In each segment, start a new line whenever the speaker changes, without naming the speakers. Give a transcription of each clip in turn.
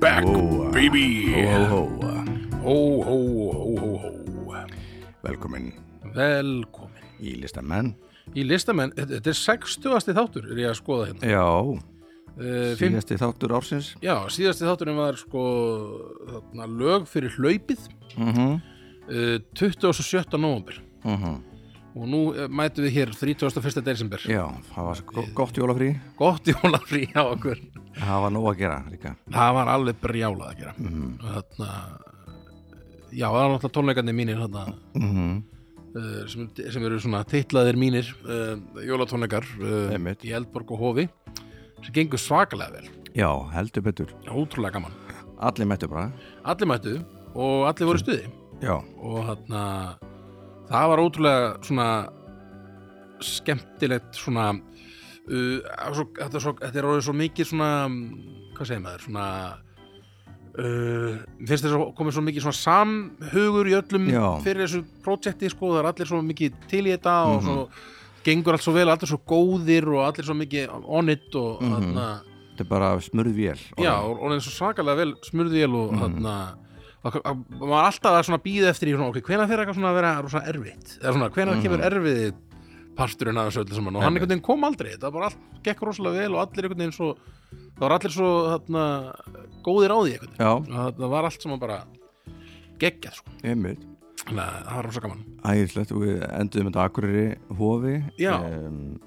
back,
Whoa.
baby
Hó, hó, hó.
Hó, hó, hó, hó, hó
Velkomin
Velkomin
í listamenn.
Í listamenn, þetta þetta er 60. þáttur er ég að skoða hérna
Já,
uh, fimm,
síðasti þáttur ársins.
Já, síðasti þátturinn var sko þarna, lög fyrir hlaupið
Mm -hmm.
uh, 27. november
Mhm.
og nú eh, mætum við hér 31. desember
Já, það var svo go- gott jólafrí.
gott jólafrí á okkur
Það var nóg að gera líka.
það var alveg brjálað að gera mm. þarna já, það var náttúrulega tónleikarnir mínir þarna,
Mm
uh, sem, sem eru svona teitlaðir mínir uh, jólatónleikar uh,
Einmitt.
í Eldborg og Hofi sem gengur svakalega vel
Já, heldur betur.
ótrúlega gaman
Allir mættu bara.
allir mættu og allir voru í stuði
Já,
og þarna það var ótrúlega svona skemmtilegt svona uh, að svo, þetta, er svo, þetta er orðið svo mikið svona mm, hvað segir maður svona uh, finnst þess að komið svo mikið svona samhugur í öllum
Já.
fyrir þessu projekti sko, það er allir svo mikið til í þetta og svo gengur allt svo vel, allir svo góðir og allir svo mikið on it og mm
þetta er bara smurðvél.
Já, og hún er svo svakalega vel smurðvél og þarna og og- og maður var alltaf að svona býða eftir í svona, ok, hvenær fyrir eitthvað svona að vera rosa erfitt eða svona, hvenær kemur erfið parturinn af þessu öllu saman og hann einhvern veginn kom aldrei það bara allt gekk rosalega vel og allir einhvern veginn svo það var allir svo þarna góðir á því einhvern veginn
Já,
og það var allt sem bara geggjað sko,
einmitt.
þannig að það var rosa gaman
Ægislegt, og við enduðum þetta akkurýri hófi.
Já.
em,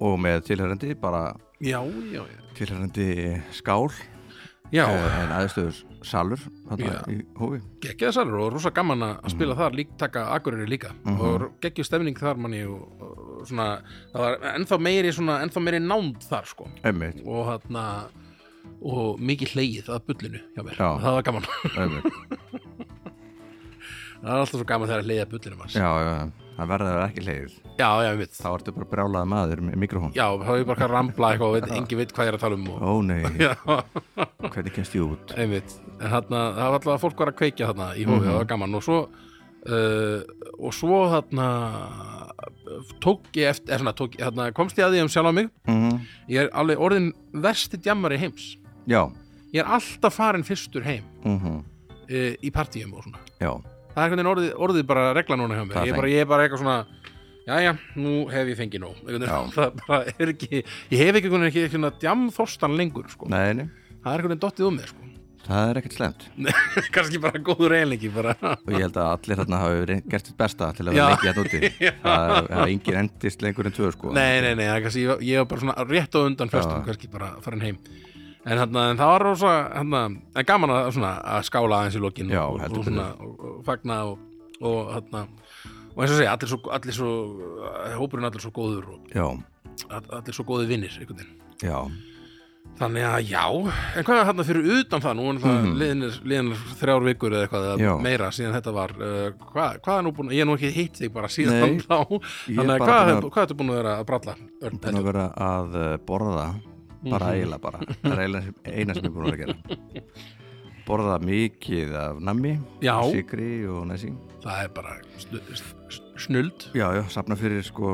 og með tilherrendi, bara
Já, já, já Eh,
tilherrendi skál. eh,
Já,
en aðstöður salur þarna
Já.
í hófi
geggjaði salur og rosa gaman
Mhm.
að spila þar lík, taka Akureyri líka og geggjuð stemning þar manni og, og svona, það var ennþá meiri svona, ennþá meiri nánd þar sko
Einmitt,
og þarna og mikið hlegið að bullinu hjá mér, það
Já.
var gaman
einmitt.
það er alltaf svo gaman þegar að hlegið að bullinu manns
Já, já, það verður ekki leiðið
já, já, ég veit
Þá ertu bara brjálaði maður með mikrofón
já, þá er ég bara að rambla eitthvað og veit, engin veit hvað ég er að tala um og,
Ó nei,
já,
hvernig kemst ég út
einmitt en þarna, það var alltaf að fólk var að kveikja þarna í hófið, það var gaman og svo uh, og svo þarna tók ég eftir, er, svona, tók, þarna, komst ég að því um sjálf á mig
mm
ég er alveg orðin versti djammari heims
Já,
ég er alltaf farin fyrstur heim
mm
uh, í partíum og svona
já,
það er hvernig orðið, orðið bara regla núna hjá mér
Það er
ég er, bara, ég er bara eitthvað svona jæja, nú hef ég fengið nóg Einhvern veginn, það bara er ekki ég hef ekki einhvern veginn ekki djamþorstan lengur sko.
nei, nei
það er einhvern veginn dottið um mig sko.
Það er ekkert slemt
kannski bara góður eiginleiki bara.
Og ég held að allir þarna hafi reynt- gert þitt besta til
Já.
að vera leikið hérna úti Það er- það er engin endist lengur en tvö sko
nei, nei, nei, það er kannski, ég, var- ég var bara svona rétt á undan flestum,
Já.
kannski bara farin heim en, hana, en það var rosa hana, en gaman að, svona, að skála aðeins í lokin
Já,
og,
heldur
og, svona, og, og fagna og, og, hana, og eins og segja, allir svo, allir svo hópurinn allir svo góður og
Já,
all- allir svo góði vinnir einhvern veginn.
já,
Þannig að já, en hvað er þarna fyrir utan það? Nú er það mm. liðinir, liðinir þrjár vikur eða eitthvað eða
Mhm. Já.
meira síðan þetta var uh, hvað, hvað er nú búin að, ég er nú ekki hitt þig bara síðan
Nei,
þá
ég
Þannig
er
að
bara
hvað,
búin
að...
að-
hvað ertu búin að vera að bralla? Örn,
búin að vera að eh, borða bara
Mhm.
eiginlega bara Það er eiginlega sem- eina sem ég er búin að vera að gera Borða mikið af nammi
Já.
Sikri og næsing
það er bara snu, snu- snuld
Já, já, safna fyrir sko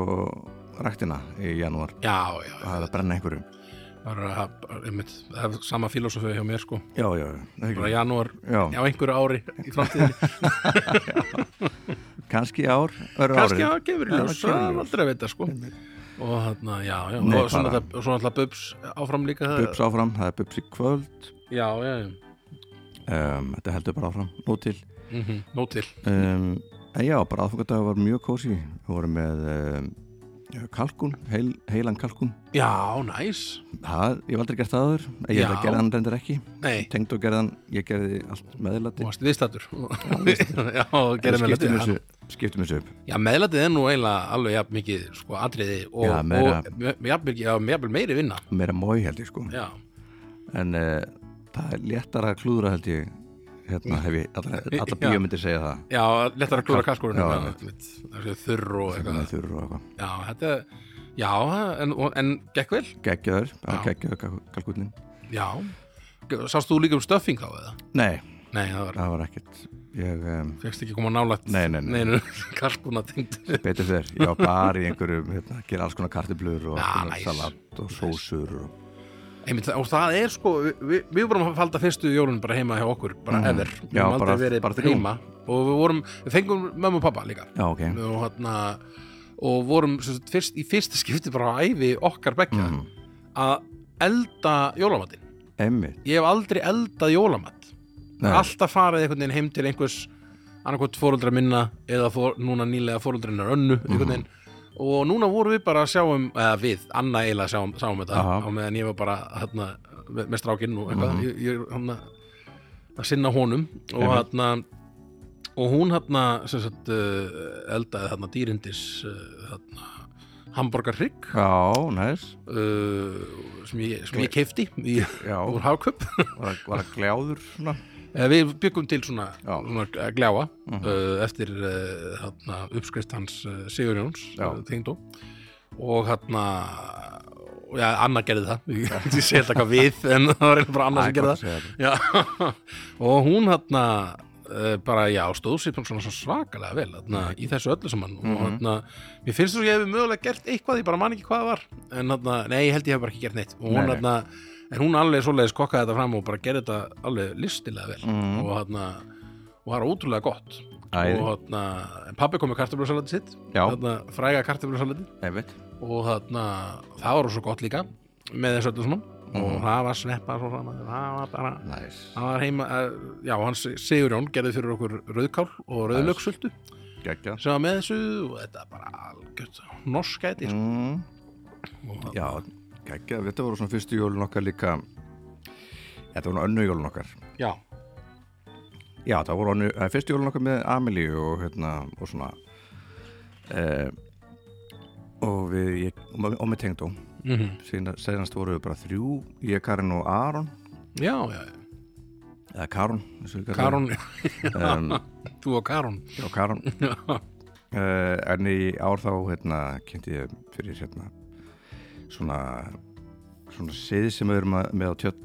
ræktina í janúar
Já, já,
það er að brenna einhverju
það er, að- einmitt, það er sama filósofi hjá mér sko
Já, já, já,
bara
ekki,
janúar,
já,
já, einhverju ári í framtíðinni,
kannski í ár öru
kannski
árið.
að gefur í
Já,
ljós það er
það kemur í ljós.
aldrei að vita sko og þarna, já, já,
Nei,
og svona
bara-
það- svona alltaf bubs áfram líka það-
Bubs áfram, það er bubs í kvöld
Já, já, já
um, Þetta heldur bara áfram, nú til
mm Nó til
um, En já, bara aðfangardag var mjög kósi Við vorum með um, kalkun, heil, heilan kalkun
Já, næs
það, Ég hef aldrei gert það aður Ég
Já.
hef gerði hann reyndar ekki
Nei,
Tengd og gerði hann, ég gerði allt
þú
meðlæti
varst viðstættur Já, þú gerði
En Skiptum
meðlætið
þessu, skiptum þessu upp
Já, meðlætið er nú eiginlega alveg jafn mikið sko, atriði og,
Já, meira-
og me- jafn mikið, já, jafn meiri vinna
Meira mói held ég sko
Já,
en uh, það er léttara að klúðra held ég hérna hef ég alla, alla
Já.
bíómyndir segja það
já lettar að hérna, klúra kalkurinn
Já,
já, mitt, mitt, þurr og
Þannig að
eitthvað
þau eru eitthvað.
Já, þetta, já, en, og- en gekk vel
geggjöður,
Já.
geggjöður kalkunin
Já, sást þú líka um stuffing þá eða?
nei,
Nei, það var,
það var ekkert ég um,
fegst ekki koma nálægt
Nei, nei, nei.
Neinu kalkuna tengd
betur þér, ég var bara í einhverju hérna, gera alls konar kartiblur og
Já,
alls konar
næs.
salat og sósur og
Einmitt, og það er sko, við, við vorum að falda fyrstu jólun bara heima hjá okkur, bara
Mhm.
mm. ever við
Já,
höfum aldrei
bara-
verið
bara þrjú.
heima og við vorum, við fengum mömmu og pappa líka
Já, ok Mm.
og hérna og vorum sem sagt, fyrst, í fyrsta skipti bara á ævi okkar bekka
mm.
að elda jólamatinn
Einmitt
ég hef aldrei eldað jólamat
Nei.
alltaf farið einhvern veginn heim til einhvers annarkvæmt fóruldra minna eða fór, núna nýlega fóruldrinnar önnu
Mhm.
einhvern veginn og núna vorum við bara að sjá um eða við, Anna eiginlega sjáum, sjáum þetta
Aha. Mhm.
á meðan ég var bara hérna, með, með strákinn og eitthvað ég, ég er hérna að sinna honum og
Einmitt.
hérna og hún hérna sem sagt uh, eldaði hérna dýrindis uh, hérna hamburgarhrygg
Já, næs
uh, sem ég, sem ég keifti í,
Já,
úr hafköp
var að, var að gljáður svona
Eh, Við byggum til svona,
Já. Mhm.
svona eh, gljáa uh, eftir uh, hana, uppskrift hans uh, Sigur Jóns
Já.
uh, tengdó og hérna já, Anna gerði það, ég sé þetta hvað við en það var eiginlega bara Anna
Æ,
sem gerði
gott að
það
segja þetta.
já. og hún hérna uh, bara já, stóð sér svona svona svakalega vel hérna, í þessu öllu saman
Mhm.
og hérna, mér finnst þess að ég hefði mögulega gert eitthvað, ég bara man ekki hvað það var en hérna, nei, ég held ég hef bara ekki gert neitt og hún
Nei, nei.
hérna en hún alveg svoleiðis kokkaði þetta fram og bara gerði þetta alveg listilega vel
Mhm.
og hérna og það er ótrúlega gott
Æði.
og hérna, en pabbi kom með kartöflusalati sitt
Já.
hérna, fræga kartöflusalati
Einmitt
og þarna, það var svo gott líka með þessu öllu saman
Mhm.
og það var sveppa svo saman það var bara
Næs
það var heima, eh, já, hans Sigurjón gerði fyrir okkur rauðkál og rauðlöksultu
Gekja
sem var með þessu og þetta er bara algjört norskæti mm.
mm.
og það
Já, gekja Þetta voru svona fyrstu jólun okkar líka Þetta voru nú önnu jólun okkar
já,
Já, það voru önnu eh, Fyrstu jólun okkar með Amelíu og hérna og svona eh, og við ég, og, með- og með tengdó
mm
Síðan- senast voru við bara þrjú ég, Karin og Aron
já, já, já.
eða Karun eins og við köllum
Karun
hann. um,
þú og Karun
Já, Karun
já,
uh, en í ár þá hérna, kynnti ég fyrir hérna, svona svona sið sem við erum að, með á tjött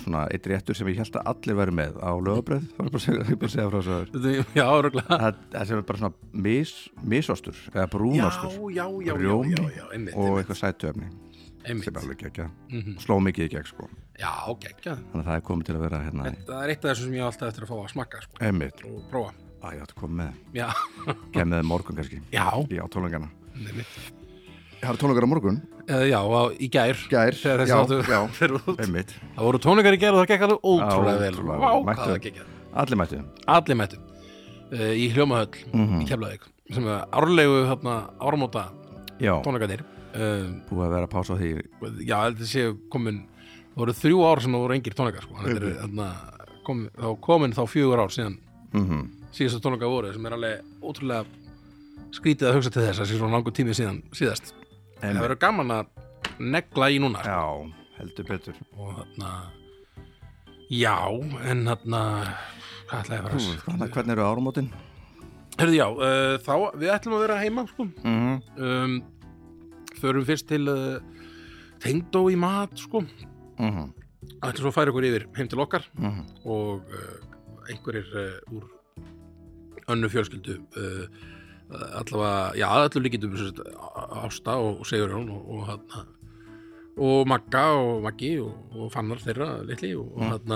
svona eitt réttur sem ég held að allir væri með á lögabröð, það var bara að segja, ég bara að segja frá þessu áður.
Þetta- já, örgulega
það, það sem er bara svona mis, misostur eða brúnostur
já, já, já,
sko. Rjómi
já, já, einmitt,
og
einmitt,
eitthvað sætuefni sem er
einmitt.
alveg gegja,
Mhm.
sló mikið í gegn sko.
já, geggjað
þannig að það er komið til að vera hérna í-
það er eitt af þessu sem ég á alltaf eftir að fá að smakka sko,
einmitt,
og prófa
að ég átti að koma með
já,
kemur með morgun kannski,
já,
ég á tónleikana
einmitt.
ég har tónleikana morgun,
Eh, já á, í gær
gær
þegar þessi
já,
þáttu
já,
fer út
einmitt
það voru tónleikar í gær og það gekk alveg ótrúlega
Já,
vel
ótrúlega vel.
Vá,
Mættu.
hvað það gekk vel.
Allir mættu
allir mættu uh, í hljómahöll í Keflavík sem er árlegu hérna, ármóta
Já,
tónleikarnir uh,
búið að vera að pása á því
já, þetta séu komin það voru þrjú ár sem það voru engir tónleikar sko. Þetta er, hérna, kom, þá komin þá fjögur ár síðan
mm -hmm.
síðasta tónleika voru sem er alveg ótrúlega skrítið að hugsa til þess að sé svona langur tími síðan síðast það verður gaman að negla í núna sko.
Já, heldur betur
og þarna já, en þarna hvað ætlaði að vera
Úf, Hvernig hvernig eru árumótin?
Herðu já, uh, þá við ætlum að vera heima sko.
Mm -hmm.
um, förum fyrst til uh, tengdó í mat sko.
Mm -hmm.
ætlum svo að færa ykkur yfir heim til okkar
Mm -hmm.
og uh, einhverjir uh, úr önnu fjölskyldu uh, allavega, já, allavega líkindum sem sagt, Á- Ásta og, og Sigurjón og, og hann og Magga og Maggi og, og Fannar þeirra litli og, og hann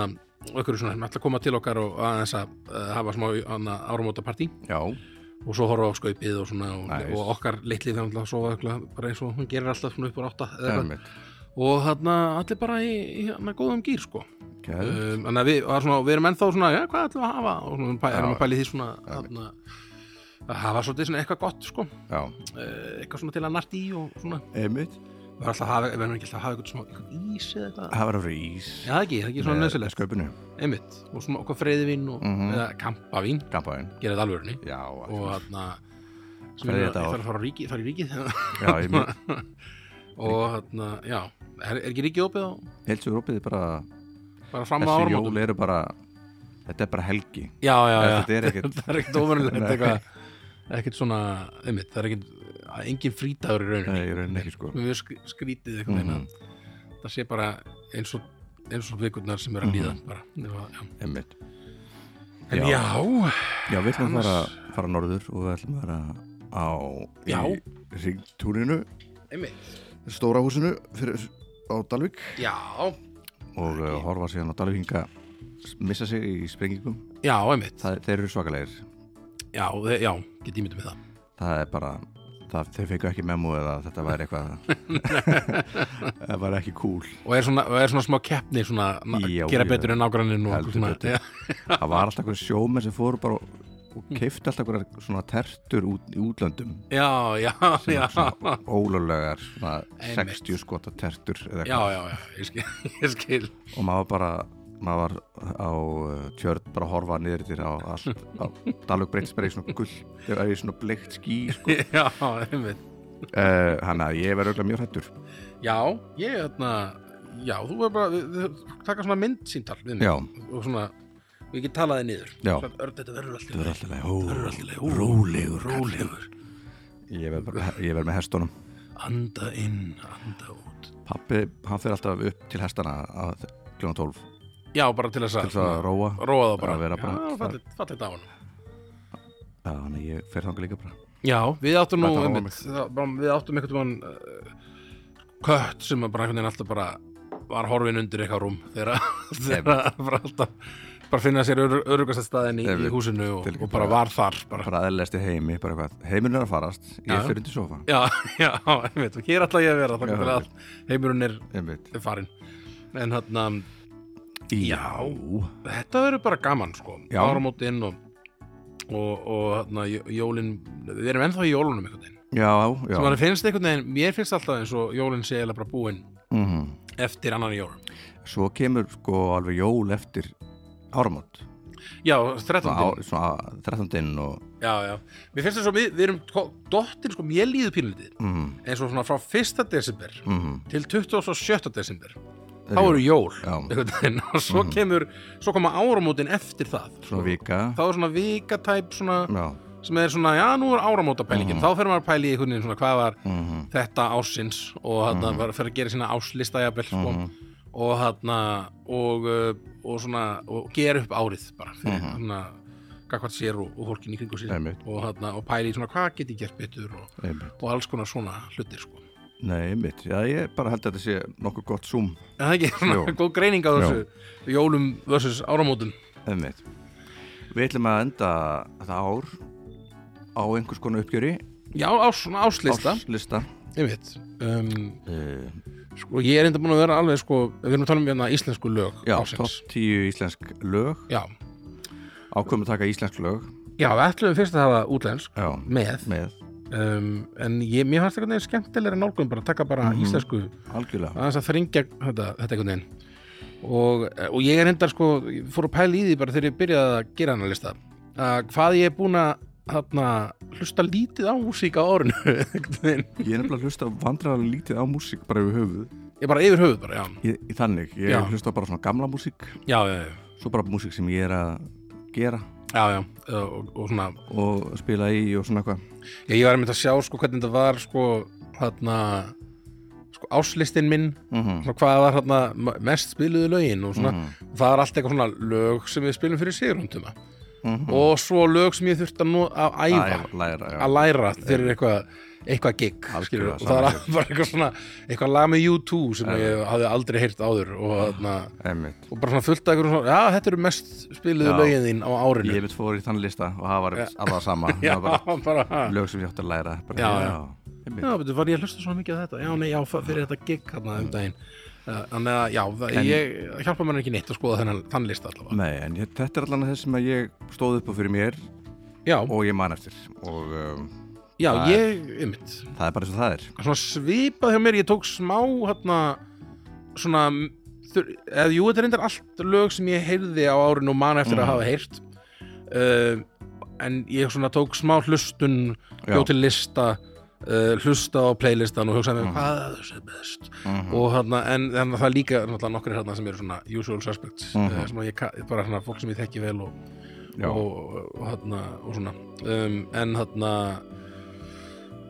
og einhverju svona sem ætla að koma til okkar og aðeins að uh, hafa smá áramóta partí
Já,
og svo horfa á skaupið og svona og,
Nice.
og okkar litli þegar hann sofa örugglega bara eins og hún gerir alltaf svona upp á átta eða eitthvað.
einmitt
og þarna allir bara í, í hana, góðum gýr sko
Gæður
Um, Þannig að við, var svona, við erum ennþá svona, já, hvað ætlum við að hafa? Og svona, pæ,
Já.
erum að pæli því svona, þarna, að hafa svolítið svona eitthvað gott, sko,
Já,
eh, eitthvað svona til að nart í og svona.
einmitt
Við erum alltaf að hafa, við erum ekki alltaf að hafa eitthvað svona eitthvað ís eða eitthvað.
Það var að vera ís
Já, það ekki, það er ekki svona nöðsilegt,
Sköpunu,
einmitt. Og svona okkar freyðivín og,
Mhm.
eða kampavín,
kampaðin
gera þetta alvörunni.
Já,
Og
allt.
þarna, sem
Ferðu
er
þetta
að
á-
fara að fara á ríki, fara í ríkið.
já einmitt
og þarna, já, er, er ekki ríkið opið á,
Heilsu rúpið er bara
bara fram að
Þessi jól
áramótum?
eru bara Þetta er bara helgi
Já, já, já.
Þetta er ekkert
það er ekkert óverulegt eitthvað ekkert svona, einmitt, það er ekkert að engin frítagur í
Nei,
rauninni
ég raunin ekki sko
Mér er mjög sk- skrítið eitthvað mm
Mhm.
það sé bara eins og eins og vikurnar sem eru að líða
Mhm.
bara, nema, já.
Einmitt
en
Já.
já, já,
Já, við ætlum að
Annars-
fara, fara norður og við ætlum að vera á
Já.
í ringtúrinu
einmitt
stóra húsinu fyrir á Dalvik
Já,
og uh, horfa síðan á Dalvíkinga missa sig í sprengingum
já, einmitt
það, þeir eru svakalegir
Já, þe- já, get ímyndum með það
það er bara það, þeir fengu ekki memo eða þetta væri eitthvað það var ekki cool
Og er svona, og er svona smá keppni svona, na-
Já,
gera
já.
betur en nágranninn og
Heldur
svona,
betur.
já,
það var alltaf einhverjum sjómenn sem fóru bara og- og keifti alltaf einhverjar svona tertur út, í útlöndum
já, já,
sem
já,
var svona ólöglegar svona
Einmitt.
60 skota tertur eða
já, já,
eitthvað.
já, ég skil, ég skil.
og maður bara maður var á uh, tjörn bara að horfa niður til á allt á Dalvik Breitsberg í svona gull þegar er í svona bleikt ský sko.
Já, einmitt
uh, hann að ég verður auðvitað mjög hættur
Já, ég, þarna Já, þú verður bara, við- við- taka svona myndsýntal við mig
Já.
Og svona, við ekki talaði niður
Já.
Svona, Örn, þetta verður alltaf
það verður alltaf leið, ó,
Rólegur, rólegur, rólegur
ég verð bara- ég verð með hestunum
Anda inn, anda út
pappi, hann fyrir alltaf upp til hestana að kljóna 12
Já, bara til þess að,
til þess að róa
Róa það bara
Að vera bara-
Já, fallið, fallið á hann
Já, þannig að ég fer þangað líka bara
Já, við áttum nú
Þetta róar
einmitt, það- bara- Við áttum einhvern veginn uh, Kött sem að bara einhvern veginn alltaf bara Var horfin undir eitthvað rúm Þegar þegar bara alltaf Bara finna sér örugast að staðin í, í
Einmitt.
húsinu og,
Til-
og bara var þar bara.
bara aðlæst í heimi, bara eitthvað heimurinn er að farast,
Já, já.
ég fyrir undir sofa
Já, já, einmitt Og hér ætla ég að vera
Já,
þannig að heimurinn er
einmitt
er farinn En þarna, Já.
já,
þetta verður bara gaman sko
Já.
Áramótin og og, og þarna, jó- jólin við erum ennþá í jólunum einhvern veginn
já, já.
sem að finnst einhvern veginn, mér finnst alltaf eins og jólin sé eiginlega bara búin
Mm
eftir annan í jólum
svo kemur sko alveg jól eftir áramót
já,
svona,
13.
á- svona 13. og
já, já, mér finnst þess að við, við erum ko- dottin, sko, mér líður pínlítið
mm,
eins og svona frá 1. desember
mm,
til 27. desember þá
Er jól.
eru jól
Já. Mhm.
einhvern veginn, og svo kemur, svo koma áramótin eftir það
svona vika
þá er svona vikatæp svona
já,
sem er svona, já, nú er
Mhm.
áramótapælingin þá fer maður að pæla í einhvern veginn svona hvað var
mm,
þetta ásins og þarna
Mhm.
mm. fer að gera sína áslista jafnvel sko, og þarna og, uh, og svona, og gera upp árið bara, fyrir mm -hmm. svona gagvart sér og, og fólkin í kringu sér
Mhm. Einmitt.
og, þarna, og pæla í svona hvað get ég gert betur og,
einmitt
og alls konar svona hlutir sko.
nei, einmitt, já, ég bara held að þetta sé nokkuð gott zoom,
en það er ekki svona
Jú.
góð greining á þessu jólum versus áramótum
einmitt við ætlum að enda þetta ár á einhvers konar uppgjöri
já, á svona áslista
áslista
einmitt um,
uh,
sko, ég er enda búin að vera alveg sko, við erum að tala um hérna íslensku lög
já, top
ársins
10 íslensk lög
já,
ákveðum að taka íslensk lög
Já, við ætlum fyrst að hafa útlensk
já,
með,
með,
Um, en ég, mér fannst einhvern veginn skemmtilega nálgum bara að taka bara
Mhm.
íslensku
algjörlega
aðeins að þringja þetta, þetta einhvern veginn og, og ég er endar sko ég fór að pæla í því bara þegar ég byrjaði að gera hann að lista að hvað ég er búin að þarna, hlusta lítið á músík á árinu einhvern veginn.
ég er nefnilega að hlusta vandrarlega lítið á músík bara yfir höfuð,
ég bara yfir höfuð bara, já,
í, í þannig ég
Já.
hlusta bara svona gamla músík
já, já, já,
svo bara músík sem ég er að gera
já, já. Og, og svona
og spila í og svona eitthvað
ég, ég var einmitt að sjá sko hvernig þetta var sko þarna sko áslistin minn
Mhm.
svona hvað var hérna mest spiluðu lögin og svona, það var allt eitthvað svona lög sem við spilum fyrir sigrunduma
Mhm.
og svo lög sem ég þurfti að, nú- að æfa,
Æfa, læra, já.
að læra fyrir eitthvað eitthvað gig,
Algjörlega,
skilur, og það
sama
var
hér.
bara eitthvað svona, eitthvað lag með U2 sem ég hafði aldrei heyrt áður og, þarna,
Einmitt.
og bara svona fullt af eitthvað svona, já, þetta eru mest spiluðu
Já.
lögin þín á árinu
ég mitt fór í þann lista og það var alltaf sama
já,
það var bara
bara, ha.
lög sem ég átti að læra bara,
Já, já.
einmitt.
já, betur, var ég að hlusta svona mikið á þetta já, nei, já, fa- fyrir þetta gig hérna um daginn Uh, þannig að, já, það,
Mm. En-
ég hjálpa mér ekki neitt að skoða þennan þann lista allavega
Nei, en ég, þetta er allan þess sem að ég stóð upp á fyrir mér
já,
og ég man eftir og um,
Já,
Það
ég, einmitt
það er bara eins og það er
Svona svipað hjá mér, ég tók smá hérna, svona þur, eða jú, þetta er reyndar allt lög sem ég heyrði á árinu og man eftir að hafa heyrt uh, en ég svona tók smá hlustun
Já.
bjóð til lista uh, hlusta á playlistan og hugsaði mér hvað er þessi best
Mhm. Mm.
og hérna, en, en það er líka náttúrulega nokkri hérna sem eru svona usual suspects mm sem að ég, ka- bara svona fólk sem ég þekki vel og,
Já.
og, og, þarna, og svona um, en þarna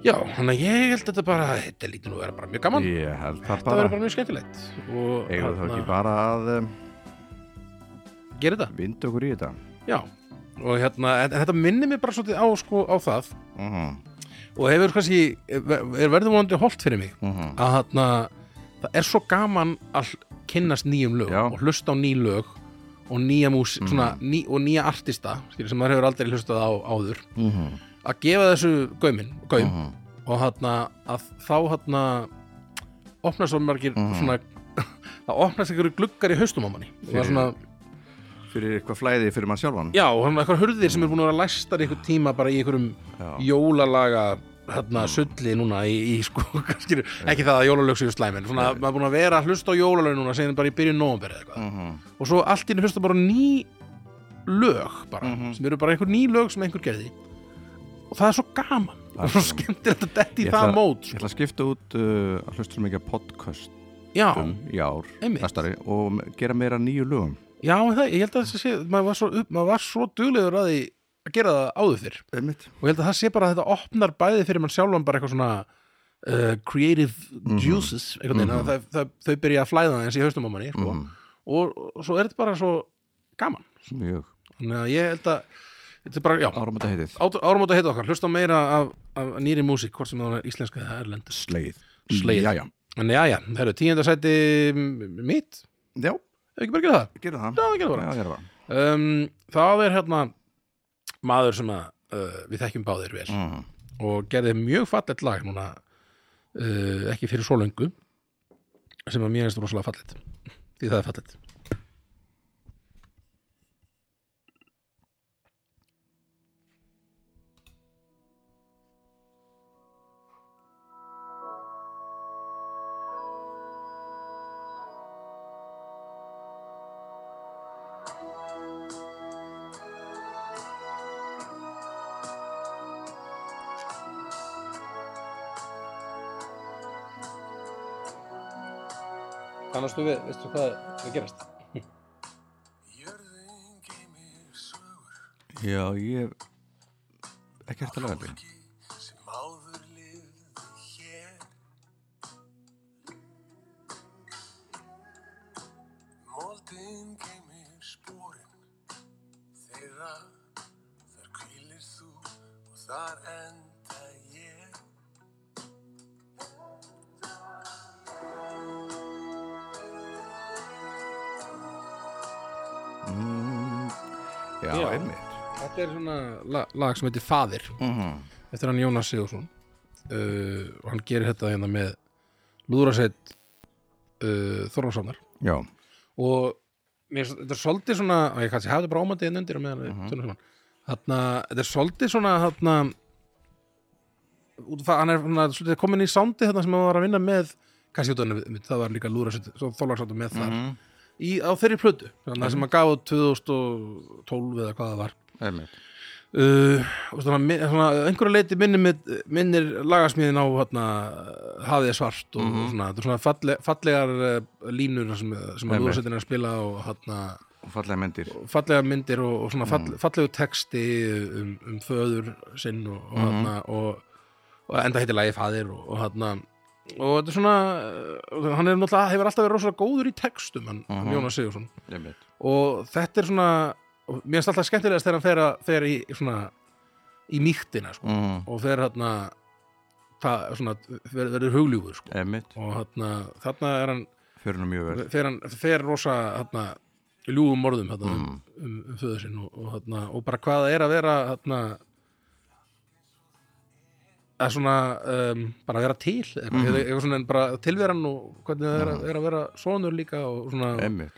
já, hann að ég held þetta bara þetta lítur nú að vera bara mjög gaman
ég held það
þetta
bara,
verður bara mjög skemmtilegt og hérna,
eigum þá ekki bara að um,
gera þetta,
vinda okkur í þetta
já og hérna, en, en þetta minnir mig bara svolítið á, sko, á það
mm -hmm. mhm,
og hefur kannski, er verður vonandi holt fyrir mig að þarna það er svo gaman að kynnast nýjum lög
Já. Mm.
og hlusta á ný lög og nýja mús, svona, ný, og nýja artista skilur, sem maður hefur aldrei hlustað á áður
Mhm.
að gefa þessu gaumin gaum,
Mhm.
og þarna að þá þarna opnast svo margir
Mhm.
svona það opnast einhverju gluggar í haustum á manni og það er
Fyrir-
svona,
fyrir eitthvað flæði fyrir mann sjálfan
já, og svona eitthvað hurðir sem er búin að vera læstar í einhver tíma bara í einhverjum
Já.
jólalaga hérna, sulli núna í, í sko, kannski, ekki það að jólalög séu slæm en svona, maður er búin að vera að hlusta á jólalög núna sem bara í byrjun nóvember eða eitthvað
Mhm.
og svo allt í einu hlusta bara á ný lög bara,
Mhm.
sem eru bara einhver ný lög sem einhver gerði og það er svo gaman og svo skemmtilegt að detti í
Ég
það
ætla-
mót
Ég
sko.
ætla að skipta út uh, að hlusta mikið á podcast
já,
um í ár
Einmitt.
næstari, og gera meira nýju lögum
já, en það, ég held að það sé maður var svo, upp- maður var svo duglegur að því að gera það áður fyrr
Einmitt.
og ég held að það sé bara að þetta opnar bæði fyrir mann sjálfan bara eitthvað svona uh, creative juices einhvern veginn, mm það, það, þau byrja að flæða eins í haustum á manni sko. og, og svo er þetta bara svo gaman
mjög
þannig að ég held að þetta er bara, já,
áramönda heitið
árum átt að heita okkar hlusta á meira af, af nýri músík hvort sem það er íslenska eða erlendis
Sleið
ah, Slegið.
já, já.
en já, já, það eru tíundasæti mitt,
já,
hefur ekki bara gerað það
gera það
Já, gerðu bara.
Já, gera það.
um, þá er hérna maður sem að uh, við þekkjum báðir vel
Mhm.
og gerði mjög fallegt lag núna uh, ekki fyrir svo löngu sem að mér finnst rosalega fallegt því það er fallegt Kannastu við, veistu hvað það gerast?
já, ég ekki hægt að laga þetta
sem áður lifði hér Moldin geymir spórin þeirra þar hvílir þú og þar enda ég
Mm, já,
Já.
einmitt
Þetta er svona lag, lag sem heitir Fadir
Mhm.
eftir hann Jónas Sigursson uh, og hann gerir þetta hérna með Lúðrasett uh, Þorláfssonar
já,
og mér, finnst þetta er svolítið svona og ég kannski hafði bara ámandi einn undir á meðan við tölum saman þarna, þetta er svolítið svona þarna út af það, hann er svona, svolítið komin í sándi þarna sem hann var að vinna með kannski út af hann, það var líka lúra þólagsáttu með
Mhm.
þar í, á þeirri plötu, þannig að sem hann gaf út 2012 eða hvað það var
einmitt
uh, og svona, mi- svona einhverju leiti minnir, mig- minnir lagasmíðin á hérna, hafið er svart og svona, þetta er svona falle, fallegar eh, línur þar sem, sem að
Einmitt.
lúðarsettin er að spila og hérna,
og fallega myndir
fallegar myndir og, og svona fall, fallegu texti um, um föður sinn og, og, hérna, og, og enda heitir lagi faðir og, og hérna og þetta er svona eh, hann er náttúrulega, hefur alltaf verið rosalega góður í textum hann,
Mhm.
Jónas Sigursson
einmitt
og þetta er svona og mér finnst alltaf skemmtilegast þegar hann fer, að, fer í svona í mýktina sko.
Mhm.
og fer hérna það, svona, ver, verður hugljúfur sko.
einmitt
og hérna, þarna er hann
fyrir nú mjög vel
fer hann, fer rosa hérna, ljúfum orðum hérna,
Mhm.
um, um, um föður sinn og, og, hérna, og bara hvað það er að vera hérna að svona um, bara vera til eitthvað, mm. eitthvað svona en bara tilveran og hvernig það er,
Mm.
að- er að vera sonur líka og svona
einmitt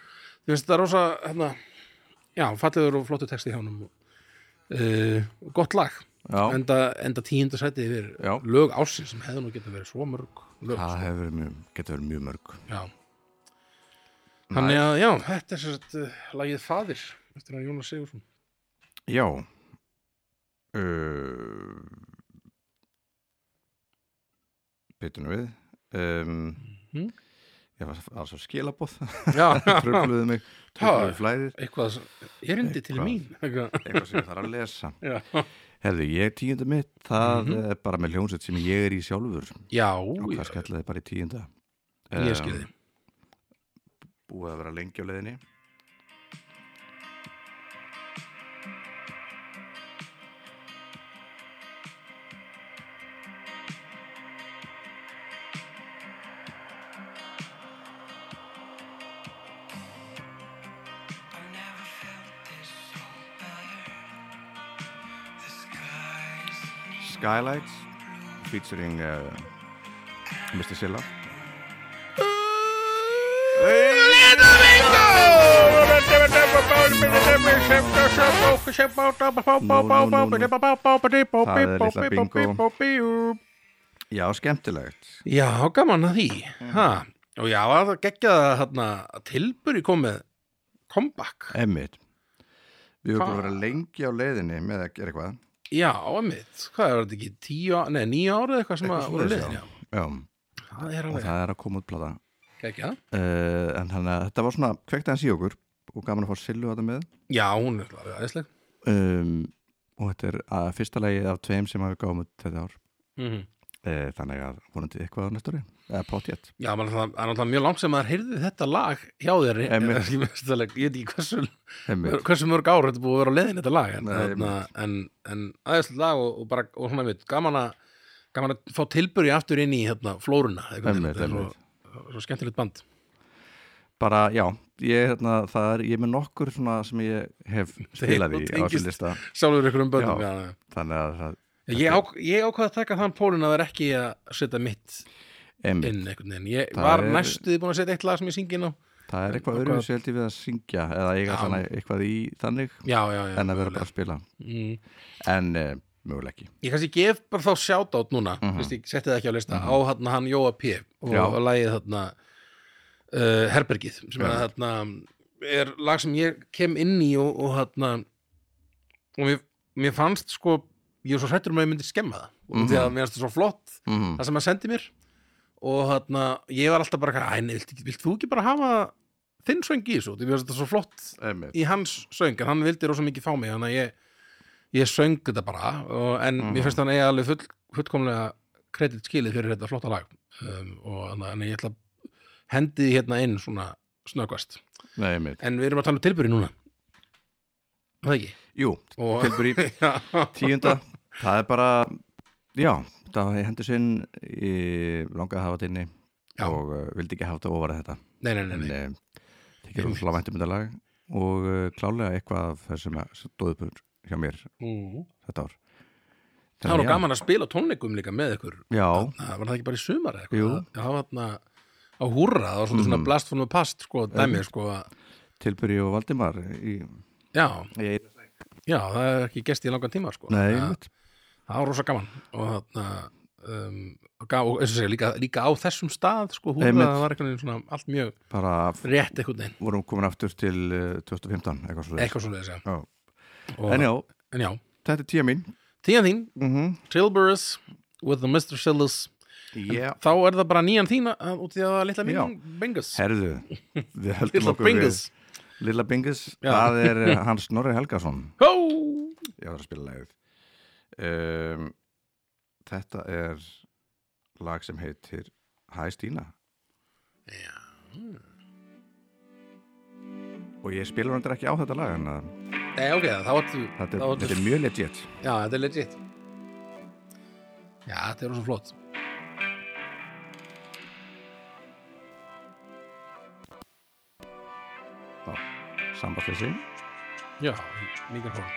Þú veist, það er rosa, hérna, já, fallegur og flottu texti hjá honum. Uh, gott lag,
já,
enda, enda tíunda sætið yfir
Já.
lög ásins sem hefði nú getað verið svo mörg lög.
það hefur verið mjög getur verið mjög mörg
Já. Þannig að, já, þetta er sér sagt uh, lagið Fadir, eftir að Jónas Sigursson.
já uh, bitur nú við um,
Mhm.
ég var alls á skilabóð
Já,
tröfluðu mig
Ha.
tröfluðu flæðið
eitthvað, sem- erindi til
Eitthvað.
mín. Eitthvað.
eitthvað sem ég þarf að lesa
Já.
Herðu, ég tíunda mitt, það er bara með hljónsett sem ég er í sjálfur
Mhm. Já,
og
ég,
það skallaði bara í tíunda
ég skil þið.
Búið að vera lengi á leiðinni Skylights featuring uh, Mr. Silla Já, skemmtilegt
Já, gaman að því ha. Og já, það geggjað að hérna, tilburi komið comeback
Emmitt Við
Hvað?
erum búin að vera lengi á leiðinni með að gera eitthvað
Já, emitt, hvað er þetta ekki tíu, á- nei, níu árið eitthvað sem að
Eitthvað
voru
svoleiðis,
liðin já.
Já,
Það er
og
alveg
það er að koma út plata
geggjað
uh, En þannig að þetta var svona kveikt aðeins í okkur og gaman að fá Sillu þetta með
Já, hún er alveg aðeinsleg
um, og þetta er að fyrsta lagið af tveim sem hafi gáðum út þetta ár
mm
uh, þannig að vonandi eitthvað á næstóri eða potjett
Já, maður er náttúrulega- það er náttúrulega mjög langt sem maður heyrði þetta lag hjá þér Ég
Einmitt.
ég veit ekki hversu hversu mörg ár þetta er búið að vera á leiðin þetta lag en,
Nei,
þarna, en, en aðeinslega lag og, og bara og svona mitt, gaman að gaman að fá tilbyrju aftur inn í hérna, flóruna einhvern veginn.
Einmitt,
Þetta er svo, svo skemmtilegt band
bara já, ég, hérna, það er, ég er með nokkur svona sem ég hef spilað í
og
á
tengist.
þessum lista
sjálfur ykkur um bönnum
Já.
já. Já,
þannig að það
Ég, á, ég ákvað að taka þann pólinn að vera ekki að setja mitt
Einmitt,
inn einhvern veginn ég
Það
var
er-
næstuði búin að setja eitt lag sem ég syngi inn á
það er eitthvað
Ákvað-
öðru sjöldi við að syngja eða eiga
Já.
þannig eitthvað í þannig
já, já, já,
en að vera bara að spila
mm.
en uh, möguleg ekki
ég kannski gef bara þá shoutout núna mm ég setti það ekki á lista á hann, hann Jóa P og
Mhm. Já.
á lagið þarna uh, Herbergið sem er,
Já.
þarna, er lag sem ég kem inn í og, og þarna og mér, mér fannst sko ég var svo hrættur um að ég myndi skemma það mm því
Mhm.
að mér fannst það svo flott
mm.
það sem hann sendi mér og þarna, ég var alltaf bara eitthvað, "Æ, nei, vilt, vilt þú ekki bara hafa þinn söng í þessu, því mér fannst þetta svo flott
Einmitt,
í hans söng en hann vildi rosa mikið fá mig þannig að ég, ég söng þetta bara og, en
Mhm.
mér finnst hann eiga alveg full, fullkomlega kredit skilið fyrir þetta flotta lag um, og þannig að ég ætla að hendi því hérna inn svona snöggvast
Nei, einmitt.
en við erum að tala um tilbyrði núna Er það ekki
Jú,
og,
tilbúr í
já,
tíunda það er bara, já það er hendur sinn ég langaði að hafa þetta inni
Já.
og uh, vildi ekki hafa þetta ofar að þetta
nei, nei, nei,
en
nei.
uh, tekið um slávæntumyndalag og uh, klálega eitthvað af það sem að stóðu upp úr hjá mér
Mm.
þetta ár
það var nú
já,
gaman að spila á tónleikum líka með ykkur
já,
það var það ekki bara í sumar eða
Jú.
eitthvað Það- það var þarna á húrra það var svona, svona
Mhm.
blast from the past sko, dæmi sko, að-
tilbyrji og Valdimar í,
já,
í,
Já, það er ekki gest í langan tíma sko.
nei,
það,
einmitt.
það var rosa gaman og þarna um, og gaf- og eins og segja, líka, líka á þessum stað sko, húða,
Einmitt.
það var einhvern veginn svona allt mjög
bara f-
rétt einhvern veginn,
vorum komin aftur til uh, 2015 eitthvað svo
eitthvað svo leiðis ja.
Já.
Og-
en já,
en já,
þetta er tíu mín
tíðan þín
mm -hmm.
Tilburus with the Mr. Shillis
yeah.
þá er það bara nýjan þín að- út í að það er litla
Já.
mín Bengus
herðu, við höldum
litla
okkur við-
Bengus
Lilla Bingus,
Já.
það er eh, Hans Snorri Helgason
Hó!
ég var að spila lagið um, þetta er lag sem heitir Hæ Stína
Já.
og ég spila hann ekki á þetta lag en að
Nei, ok, þá ertu
þetta,
þá
er,
ertu-
þetta er mjög legit
Já, þetta er legit Já, þetta er rosa flott
sambandsleysi
Já, mikið hól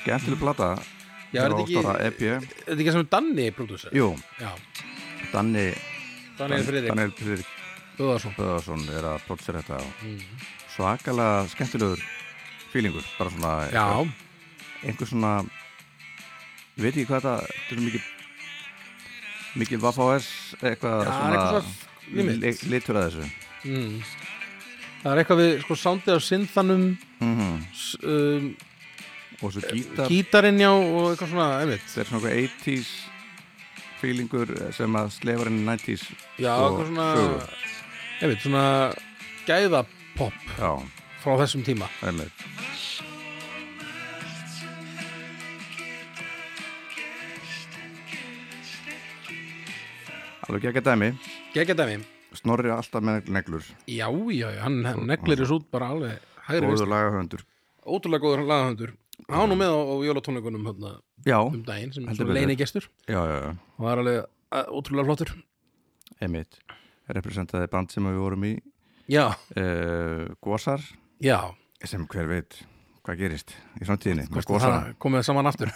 skemmtileg plata
Já, er þetta ekki-
þetta ekki
Þetta er ekki sem Danni prodúsir?
Jú,
Já,
Danni
Daniel Friðrik
Daniel Friðrik
Böðarsson
Böðarsson er að prótsera þetta og
Mhm.
svakalega skemmtilegur fílingur, bara svona
Já,
einhver svona ég veit ekki hvað þetta þetta er mikið mikið Vaffáers eitthvað
Já, það er eitthvað svona
li-
limit.
li- litur að þessu
mm. það er eitthvað við sko soundið af synthanum
mm
s- um,
og
Eh,
svo gítar
gítarinn já og eitthvað svona, einmitt
þetta er svona eitthvað 80s feelingur eh, sem að slefar inn í 90s
Já,
og
eitthvað svona,
sögur.
einmitt, svona gæðapopp
já,
frá þessum tíma
einmitt alveg ekki dæmi
Gekja dæmi,
Snorri er alltaf með neglur
já, já, já, hann hann neglir þessu út bara alveg hægri vist
góður lagahöndur
Ótrúlega góður lagahöndur Há nú með á, á jólatónleikunum hérna,
já,
um daginn sem
Heldur
svo
betur.
leini gestur
já, já, já
og það er alveg að, ótrúlega flottur
Einmitt. representaði band sem við vorum í
já,
uh, Gósar
já
sem hver veit hvað gerist í framtíðinni með
Kosti það
Gósar
komið saman aftur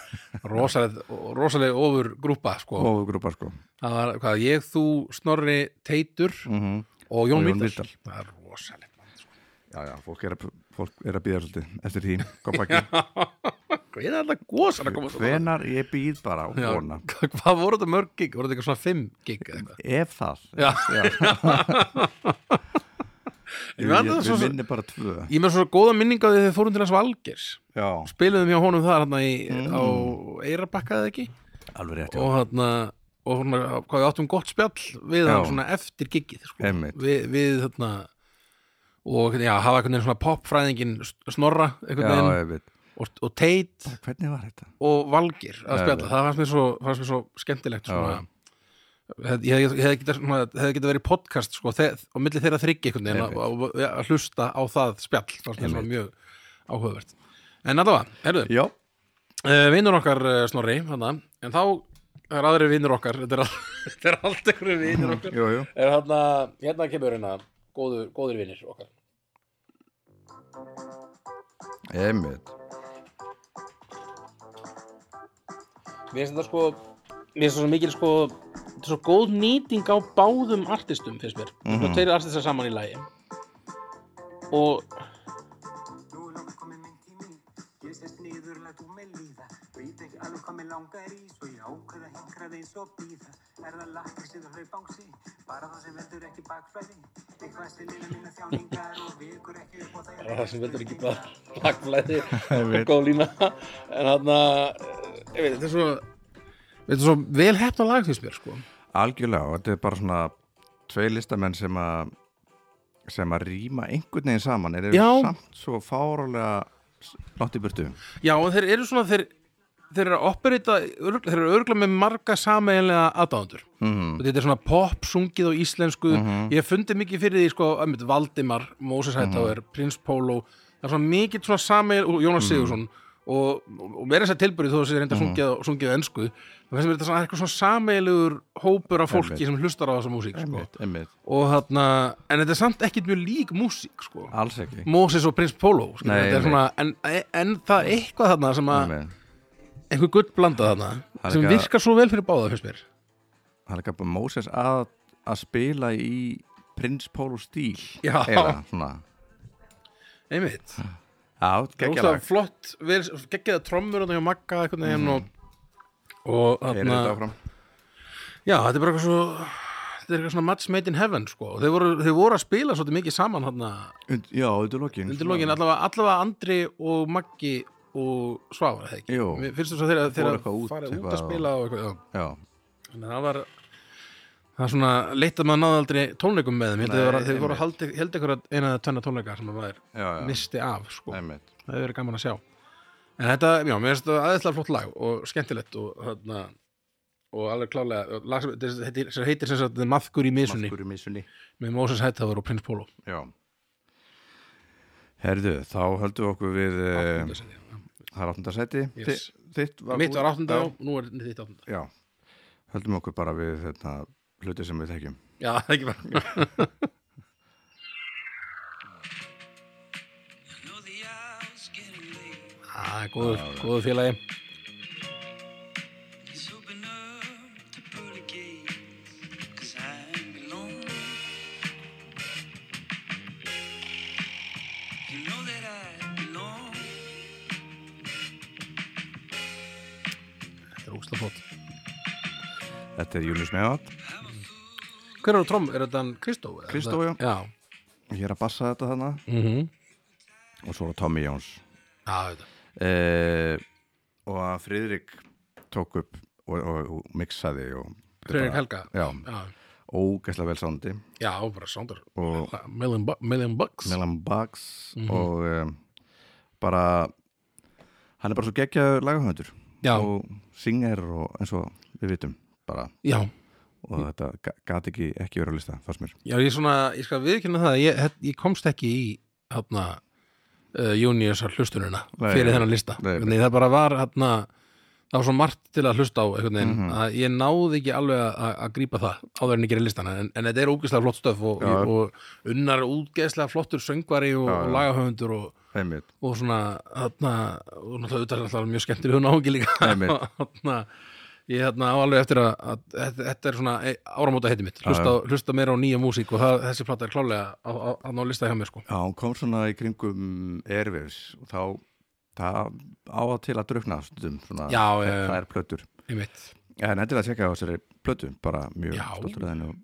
rosaleg, rosaleg ofur grúpa sko.
og grúpa sko
það var hvað, ég, þú, Snorri Teitur
mm
og Jón
Og Jón
Vítal
Mýrdal.
það er rosalegt mann, sko.
Já, já, fólk er að, fólk er að býða svolítið eftir því, kom ekki
hvað er alltaf gósan að koma svona?
Hvenar ég býð bara á
Já,
vona
hvað voru þetta mörg gig? voru þetta eitthvað svona fimm gig eða eitthvað?
Ef það
Já.
Ég,
Ég man
ég,
það
ég,
svo-
minni bara tvö
ég með svona góða minninga þegar þið fórum til hans Valgers
Já,
spiluðum hjá honum þar hann í, á
Mm.
Eirabakka eða ekki
alveg rétt
og hann og svona, hvað við áttum gott spjall við
Já.
hann svona eftir giggið sko.
Einmitt.
við, við þarna og já, hafa einhvern veginn svona popfræðingin snorra
Já,
einhvern veginn
ég veit
og, og teit
Hvernig var þetta?
og valgir að
Já,
spjalla,
já.
það fannst mér svo, fannst mér svo skemmtilegt svona Ég hef- ég hefði getað hef geta verið podcast sko, þe- á milli þeirra þryggi einhvern veginn að-
Einmitt.
að að- að hlusta á það spjall fannst mér svona
Einmitt.
mjög áhugavert en allavega, herðu,
Já,
uh, vinnur okkar uh, Snorri hana, en þá er aðri vinnur okkar þetta er, all, þetta er allt einhverju vinnur okkar
jú, jú
er hana, hérna kemur hérna góður, góður vinnir okkar
Einmitt
mér finnst þetta sko mér finnst þetta svo mikil sko þetta er svo góð nýting á báðum artistum finnst mér, mm -hmm. tveir artistar saman í lagi og
Nú er lóka komið minn tími, ég sest niður, læt úr mig líða. Veit ekki alveg hvað mig langar í, svo ég ákveða hingrað eins og býða. Er það lakkið sem það hlaupangsi, bara það sem veldur ekki bakflæði. Eitthvað sem lina minna þjáningar og vekur ekki upp á það.
það er það sem veldur ekki bara lagflæði og
veit.
góð lína en hann að ég veit, þetta er svo þetta er svo vel hefna lag fyrst mér sko
Algjörlega, og þetta er bara svona tvei listamenn sem að sem að rýma einhvern veginn saman er
Já.
samt svo fárálega látt í burtu
já og þeir eru svona þeir, þeir eru að operita örgla, þeir eru örgla með marga sameiginlega aðdáðundur
Mhm.
mm. þetta er svona pop sungið á íslensku ég hef fundið mikið fyrir því sko einmitt, Valdimar, Moses Hightower,
Mhm.
Prince Polo það er svona mikið svona sameil og Jónas Sigursson og, og verið þess að tilbyrði þó að þessi reynda
Mhm.
sungið, mm. sungið á ensku það finnst mér þetta svona, eitthvað svona sameilugur hópur af fólki
Einmitt.
sem hlustar á þessa músík sko.
einmitt,
og þarna, en þetta er samt ekkit mjög lík músík sko.
alls ekki
Moses og Prins Polo skilur,
Nei,
þetta er
nei.
svona, en, en það er eitthvað þarna sem að
Einmitt.
einhver gutt blanda þarna
Það er
sem
eitthvað-
virkar svo vel fyrir báða fyrst mér
Það er ekki bara Moses að, að spila í Prince Polo stíl
Já.
eða svona
einmitt,
Ah. Já,
óslega
geggjalag
flott geggiða trommur þarna hjá Magga einhvern
Mhm.
veginn og, og
Heyrið
þarna,
þetta áfram
já, þetta er bara eitthvað svo þetta er eitthvað svona match made in heaven sko. þeir, voru, þeir voru að spila svolítið mikið saman þarna
Und, Já, undir lokin
undir lokin, allavega, allavega Andri og Maggi og Svavar, eða ekki
Jú.
Mér finnst þú svo þeirra, þeirra
eitthvað út,
farið út
eitthvað
að
og-
spila og eitthvað, já
Já,
Þannig að það var það er svona leitt að maður náði aldrei tónleikum með þeim Ég held að
Nei,
þeir voru- þeir voru
einmitt.
að haldi, held einhverja eina eða tvenna tónleika sem að maður
já, já
misti af sko. það
Einmitt
hefur verið gaman að sjá en þetta, já, mér finnst þetta aðeinslega flott lag og skemmtilegt og, þarna, og alveg klálega og lag sem þetta heitir- sem heitir sem sagt Maðkur í misunni
Maskur í missunni
með Moses Hightower og Prins Polo
Já Herðu, þá höldum við okkur við eh, Það er áttunda seti
Yes.
Þi- Þitt var
mitt
búið-
var áttunda já, nú er þitt áttunda
Já, höldum okkur bara við þetta hluti sem við þekkjum
já, það er ekki bara
Know the hour's getting late,
Ah, góður, góður félagi
let's open up the pearly gates, 'cause I belong. You know that I belong.
þetta er óslega flott
Þetta er Július Meðat
hver eru tróm, er þetta hann Kristó? eða?
Kristó, já.
já.
Ég er að bassa þetta þarna
Mm
Og svo er Tommy Jóns
já, þetta
eh, Og að Friðrik tók upp og, og, og mixaði og
Friðrik Helga.
Já,
já,
ógæslega vel sándi
Já, bara sándar
Og-
million, bu million bucks
Melan Bugs
Mhm.
og um, bara hann er bara svo geggjaður lagahöndur
Já.
og synger og eins og við vitum bara
Já,
og þetta ga- gat ekki ekki verið að lista fannst mér
já ég, svona, ég skal viðkynna það að ég, het- ég komst ekki í hérna uh, Juniusar hlustununa
Nei,
fyrir
nei.
þennan lista
Nei, nei.
Nei, það bara var hérna það var svo margt til að hlusta á einhvern veginn
Mhm.
að ég náði ekki alveg að, að grípa það áður en ég gerir listana en, en þetta er ógeðslega flott stöf og,
Já.
og unnar er ógeðslega flottur söngvari og,
Já, já.
og lagahöfundur og,
einmitt,
og svona þarna, og náttúrulega auðvitað er alltaf mjög skemmtileg hún áhengi líka
Einmitt.
Og þarna, ég þarna á alveg eftir að, að þetta- þetta er svona e, áramóta heiti mitt hlusta, hlusta meira á nýja músík og það, þessi plata er klálega á- á- að ná lista hjá mér sko
já, hún kom svona í kringum erfis og þá það á að til að drukna stundum, svona,
Já, já, já.
það er plötur
einmitt.
en endilega að tjekka á þessari plötu bara mjög
Já.
stoltur að henni og,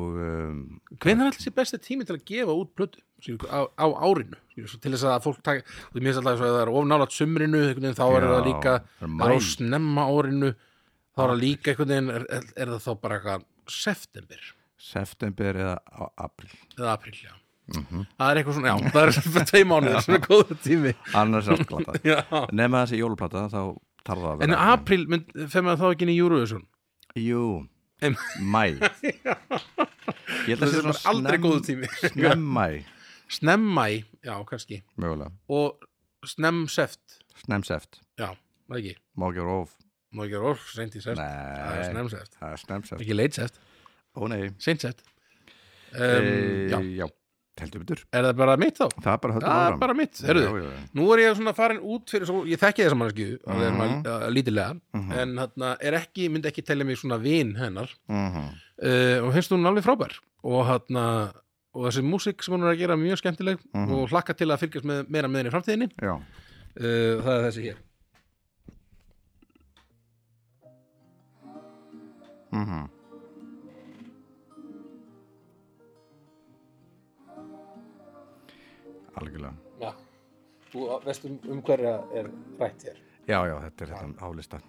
og um,
hvernig er alltaf þessi besti tími til að gefa út plötu skilur, á, á árinu skilur, svo til þess að fólk taka, og mér finnst alltaf eins og ef það er of nálægt sumrinu einhvern veginn, þá er
Já,
það líka
það er
það
maí.
er á snemma árinu þá er það líka einhvern veginn er, er, er það þá bara eitthvað september
september eða á- apríl
eða apríl, já það er eitthvað svona, já, það er svona tvei mánuðir sem er góða tími
annars er allt glata
já.
nema þessi jóluplata þá þarf það að
en
vera
apríl, mynd- fer maður þá ekki inn í Eurovision
Jú,
Em-
mæ Ég held
Það er bara aldrei góður tími.
Snemmæ,
snemmæ, já, kannski
mögulega,
og snemmseft,
snemmseft
já, það ekki
Má ekki rof
má ekki vera orð, seint í seft, það er
Nei,
snemmseft
það er snemmseft
ekki leitseft,
Ó nei,
seintsett um,
e,
Já,
já, heldur betur
er það bara mitt þá?
Það er bara höldum
Það er bara mitt, herruðu
Já, já, já.
Nú er ég svona farin út fyrir svo, ég þekki þessa mannskju mm
Mhm.
-hmm. uh, lítilega
Mhm.
en hérna er ekki, myndi ekki telja mig svona vin hennar
Mhm.
uh, og finnst hún alveg frábær og hérna, og þessi músík sem hún er að gera mjög skemmtileg
Mhm.
og hlakka til að fylgjast með, meira með henni í framtíðinni
Já,
uh, það er þessi hér
mhm. Algjörlega
Já, þú veist um, um hverja er rætt hér
Já, já, þetta er hérna þetta álista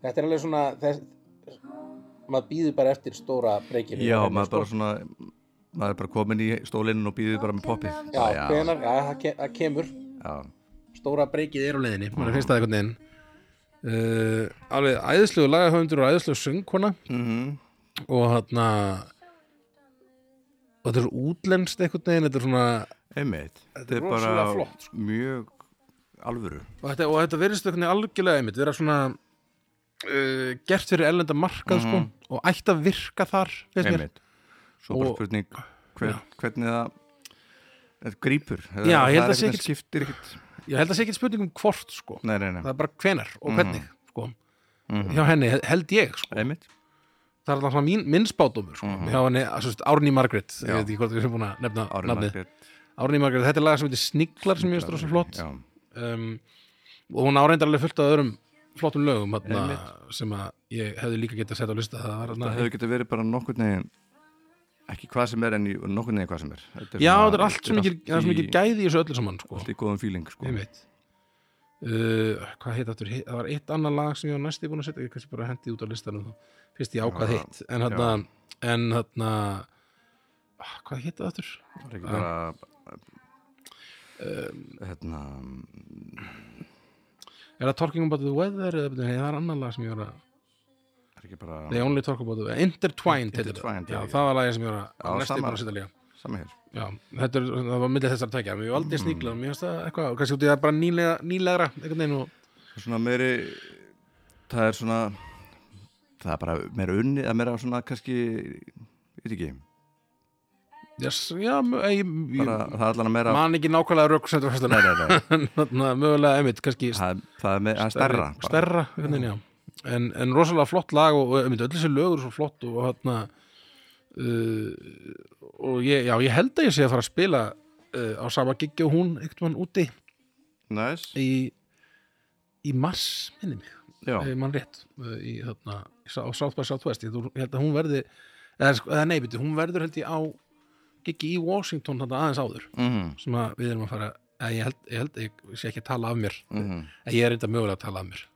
Þetta er alveg svona þess, maður býður bara eftir stóra breykinu
Já, maður
sko.
bara svona maður er bara komin í stólinn og býðið bara með poppið
Já, hvenar, já, það ke- það kemur
já,
stóra breykið er á leiðinni mann finnst það einhvern veginn uh, alveg æðislegu lagahöfundur og æðislegu söngkona
Mhm.
og þarna og þetta er svo útlenskt einhvern veginn þetta er svona
einmitt þetta er bara
rosalega flott, sko.
mjög alvöru
og þetta, og þetta verðist einhvern veginn algjörlega einmitt vera svona uh, gert fyrir ellenda markað sko og ætti að virka þar finnst mér
Mhm. einmitt svo bara
Og-
spurning hver, hvernig það þetta grípur já,
Já, ég held
það
að sé
ekkert
ekkert-
skiptir ekkert
ég held að það sé ekki spurning um hvort sko
nei, Mhm. nei, nei,
það er bara hvenar og hvernig sko hjá henni held ég sko
einmitt
það er alltaf mín, minn spátumur sko. hjá henni, að, svo veist, Árný Margrét ég
Mhm. Já.
veit ekki hvort við erum búin að nefna
Árið
nafnið
Margrét
Árný Margrét, þetta er laga sem heitir Sniglar sem ég veist rosa flott
já,
um, og hún áreindar alveg fullt af öðrum flottum lögum hana,
Einmitt.
sem að ég hefði líka getað sett á lista það var
það
hana,
hefur getið verið bara nokkurn veginn ekki hvað sem er en í- nokkurn veginn hvað sem er þetta
já,
svona-
þetta er allt sem ekki,
allt
það er svo
í-
mikið gæði í þessu öllu saman sko.
allt í góðum fíling sko
ég veit Uh, hvað heit aftur, Hitt- það var eitt annað lag sem ég var næstu búin að setja, ég kannski bara hendi út á listanum þá, fyrst ég ákvað
Já,
hitt en hérna, en hérna ah, hvað heit það aftur?
Það er ekki bara
Um,
hérna
Er það Talking About The Weather eða nei, það er annar lag sem ég var að
er ekki bara
They Only Talk About The Weather Intertwined heitir
Intertwined,
það
já,
Já,
já.
það var lagið sem ég var
Já,
að næstu
sama.
bara að setja líka
saman hér
Já, þetta er, það var millið þessar tækja Mér var
Mm.
aldrei sníklað, mér finnst það eitthvað Kannski út í það bara nýlega, nýlegra einhvern veginn og
Það er svona meiri það er svona það er bara meira unni það er meira svona kannski ég veit ekki
yes, Já, mö- ég,
bara,
ég
það er allan að meira
man ekki nákvæmlega rök sem þetta
nei, nei, nei.
var mögulega einmitt, kannski
það, er- það er með, það er stærra bara.
Stærra, einhvern veginn, já En, en rosalega flott lag og, og einmitt, öll þessi lögur svo flott og hérna uh, og ég, já, ég held að ég sé að fara að spila uh, á sama giggi og hún einhvern mann úti
næs
í, í mars minni mig,
já,
ef mann rétt uh, í þarna, í Sá- á South by Southwest ég, þú- ég held að hún verði eða, sko- eða nei, byrju, hún verður held ég á giggi í Washington þarna aðeins áður
mhm,
sem að við erum að fara að ég held, ég held, ég sé ekki að tala af mér
mhm.
en ég er reynda mögulega að tala af mér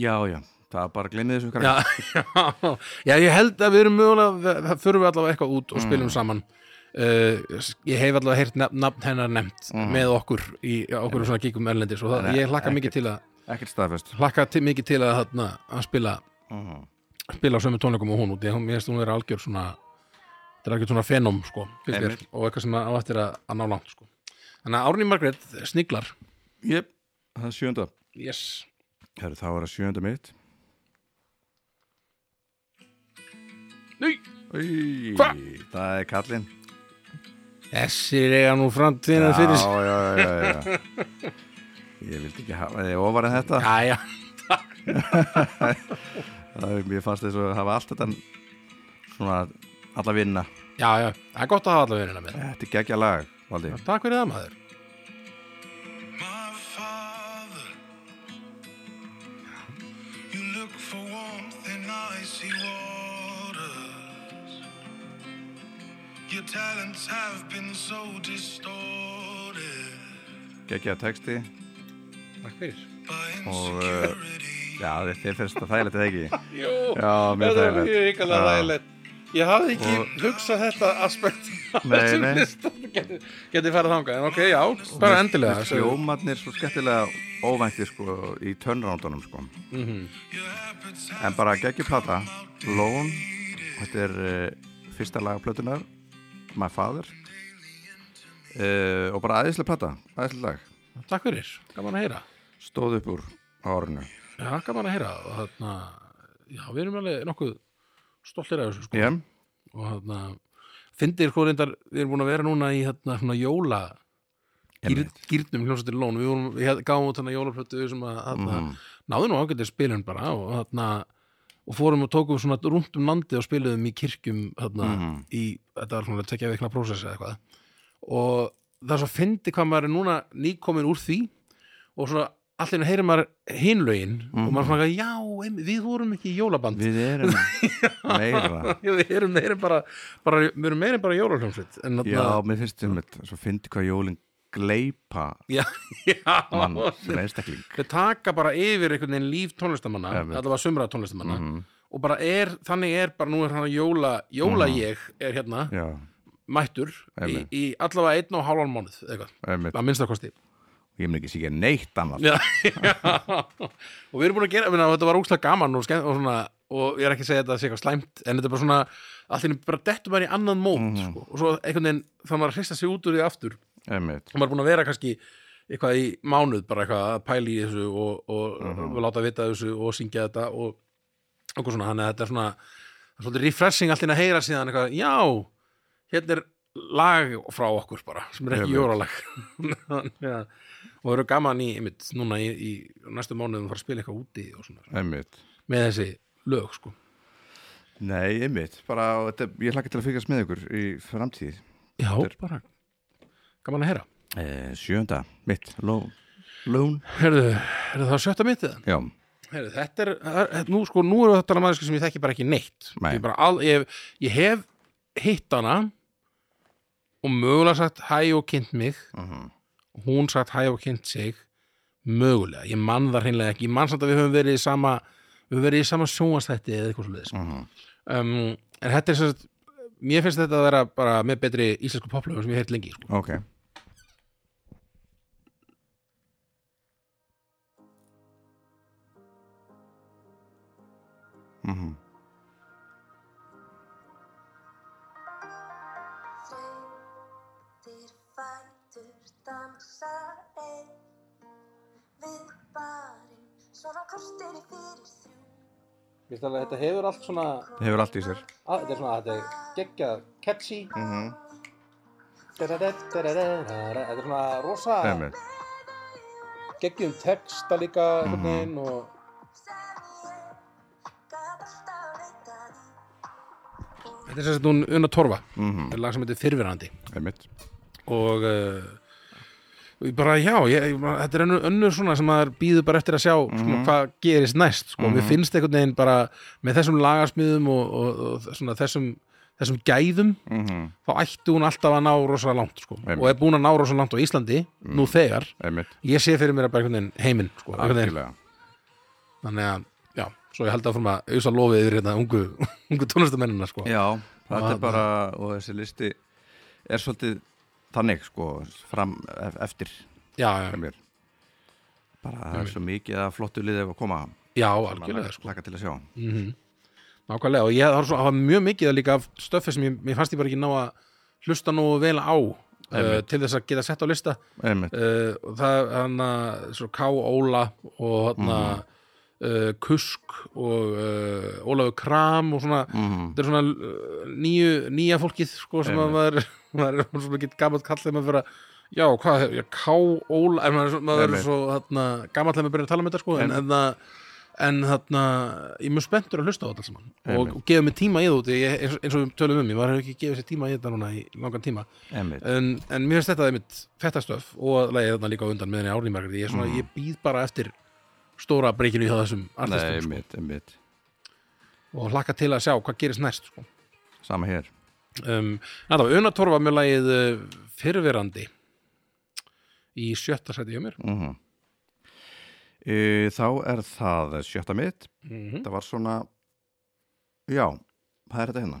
já, já það er bara gleymið þessu
já,
krakkar.
já, já, ég held að við erum mögulega það förum við allavega eitthvað út og
Mm.
spilum saman uh, ég hef allavega heyrt nafn, nafn hennar nefnt með okkur í á okkur svona gíkum erlendis og það,
Mm. Nei,
ég hlakka mikið
ekkert.
til að
ekkert staðfest
hlakka til, mikið til að, þarna, að spila
Mhm.
spila á sömu tónleikum og hún út ég hún- mér finnst hún vera algjör svona þetta er algjör svona fenóm sko finnst mér,
Einmitt.
og eitthvað sem á eftir að, að ná langt sko þannig að Árný Margrét sniglar
Jep, það er sjönda
yes
Heru, þá er það sjönda mitt
Nei,
Í,
Hva?
það er kallinn
þessir eiga nú framtíðina
já,
fyrir sér.
já, já, já, já. ég vildi ekki hafa þið ofar en þetta
Jæja,
það er mjög fast þess að hafa allt þetta svona alla vinna
já, já, það er gott að hafa alla verið með.
þetta er geggja lag, Valdi
Takk fyrir það maður.
My father, you look for warmth in icy waters. Your talents have been so distorted
geggja texti
Takk fyrir.
by
og uh,
insecurity.
já, þið- þið finnst það þægilegt eða ekki
Jú,
já, mjög
þetta er
þægilegt.
mjög ríkalega
Já.
ræðilegt. Ég hafði ekki
Og-
hugsað þetta aspekt af
Nei,
þessum
nei.
lista. Geti, geti farið þangað, en ok, já, bara endilega. sagði-
Hljómarnir svo skemmtilega óvænti sko í törnrándunum sko En bara geggjum plata Lón Þetta er uh, fyrsta lag af plötunar My Father uh, Og bara æðislega plata Æðislega lag
Takk fyrir, gaman að heyra.
Stóð upp úr á árinu
Já, gaman að heyra. Og þarna, já, við erum alveg nokkuð stoltir af þessu, sko.
Ég
og þarna fyndir sko reyndar, við erum búin að vera núna í þarna svona jóla gýr,
Einmitt.
gýrnum hljómsveitir lón, við vorum við hef- gáfum út þarna jólaplötu sem að þarna,
Mhm.
náðu nú ágætið spilun bara og þarna og fórum og tókum svona rúnt um landi og spiluðum í kirkjum þarna
Mhm.
í, þetta var svona tekja veikna prósessi eða eitthvað og það er svo fyndi hvað maður er núna nýkomin úr því og svona allir heyrir maður hinlaugin mm.
Mhm.
og maður svona, já, einmitt, við vorum ekki í jólaband
Við erum
Já,
meira
við erum meira en bara, bara við erum meira en bara jólahljómsveit en þarna-
Já, mér finnst um þetta Svo fyndi hvað jólin gleipa
já, já
mann sem einstakling
við taka bara yfir einhvern veginn líf tónlistamanna
Einmitt. Mhm.
allavega sumra tónlistamanna og bara er, þannig er bara nú er hann að jóla, jóla ég er hérna,
Mhm. Já,
mættur í,
Einmitt.
í allavega einn og hálfan mánuð eða eitthvað,
einmitt
að minnstakosti
Ég mun ekki sé ekki neitt annað
já, já. og við erum búin að gera minna, þetta var úkslega gaman og, skemmt, og, svona, og ég er ekki að segja þetta sé eitthvað slæmt en þetta er bara svona, allir bara dettum er í annan mót
Mhm.
sko. og svo einhvern veginn það maður að hrista sig út úr því aftur
Einmitt
og maður er búin að vera kannski eitthvað í mánuð bara eitthvað að pæla í þessu og, og, og láta vita þessu og syngja þetta og okkur svona, þannig að þetta er svona það er svolítið refreshing allt inn að heyra síðan eitthvað, já, hérna er lag frá okkur bara, sem er ekki
Einmitt.
jóralag ja. og það eru gaman í, einmitt, núna í, í næstu mánuðum að fara að spila eitthvað úti og svona,
Einmitt
með þessi lög sko.
Nei, einmitt, bara og þetta, ég hlakka til að fylgjast með ykkur í framtíð
já,
Þetta er-
bara gaman að heyra
eh, Sjönda, mitt, lón Lón,
Herðu, herðu það sjötta mitt eða?
já,
Heyrðu, þetta er, það er- nú sko, nú eru þetta alveg mannski sem ég þekki bara ekki neitt
Nei.
ég, bara al, ég, ég hef hitt hana og mögulega sagt hæ og kynnt mig
Mhm.
og hún sagt hæ og kynnt sig mögulega, ég man það hreinlega ekki ég man samt að við höfum verið í sama við höfum verið í sama sjónvastætti eða eitthvað svo leiðis
Mhm.
um, en þetta er sem sagt mér finnst þetta að vera bara með betri íslensku poplöfum sem ég heilt lengi sko.
ok Mhm.
Þeitir fætur dansa einn Við barinn svona kortir fyrir þrjú
þetta hefur allt svona
Það hefur allt í sér
að, þetta er svona, þetta er geggja catchy
Mhm.
Da-da-da, da-da-da-da-da. Þetta er svona rosa
Einmitt,
geggjum texta líka einhvern veginn og
sem ég gat alltaf leitað í
Þetta er sem sagt hún Una Torfa
Mhm.
Þetta er lag sem heitir Fyrfirandi
einmitt
og uh, ég bara já, ég, ég, bara- þetta er önnur, önnur svona sem maður býður bara eftir að sjá
Mhm.
svona, hvað gerist næst sko. Mér finnst einhvern veginn bara með þessum lagarsmiðum og, og, og svona, þessum, þessum gæðum
Mhm.
þá ætti hún alltaf að ná rosa langt sko.
Einmitt. Mhm.
og er búin að ná rosa langt á Íslandi nú þegar
Einmitt,
ég sé fyrir mér að bara einhvern veginn heiminn sko, einhvern veginn
algjörlega
þannig að, já, svo ég held að fórum að auðsa lofið yfir hérna ungu, ungu tónlistamennina sko.
Já, þetta er
þarna-
bara og þessi listi er svolítið þannig sko, fram ef- eftir
já,
hjá
já,
mér bara það er svo mikið að flottu liðið að koma
já,
Maður
algjörlega sko.
hlakka til að sjá
nákvæmlega, og ég það var, svo, það var mjög mikið af líka af stöffi sem ég, ég fannst ég bara ekki ná að hlusta nógu vel á uh, til þess að geta sett á lista
einmitt,
uh, og það hann að svo K. Óla og hann að
Mhm.
uh, Kusk og uh, Ólafur Kram og svona,
Mhm.
þetta er svona uh, nýju, nýja fólkið sko sem að maður, maður er svona ekki gamall kall þegar maður fyrir að Já, hvað, hef- já, K. Óla en maður, er svo- maður er
Einmitt.
svo þarna, gamall þegar maður byrja að tala með þetta sko en, en, það- en þarna, ég er mjög spenntur að hlusta á þetta allt saman og, og gefa mig tíma í það út ég, eins, eins og við tölum um, ég var ekki gefið sér tíma í þetta núna í langan tíma
einmitt.
en, en mér finnst þetta einmitt fettastöf og lagið þarna líka á undan með henni árnýmargrið ég, mm. ég býð bara eftir stóra breykinu hjá þessum
Nei,
artistum sko,
einmitt, einmitt
og hlakka til að sjá hvað gerist næst sko.
Sama hér
um, en það var unatorfa með lagið uh, fyrrverandi í sjötta sæti hjá mér
mm e, Þá er það sjötta mitt
Mhm.
Það var svona Já, hvað er þetta hérna?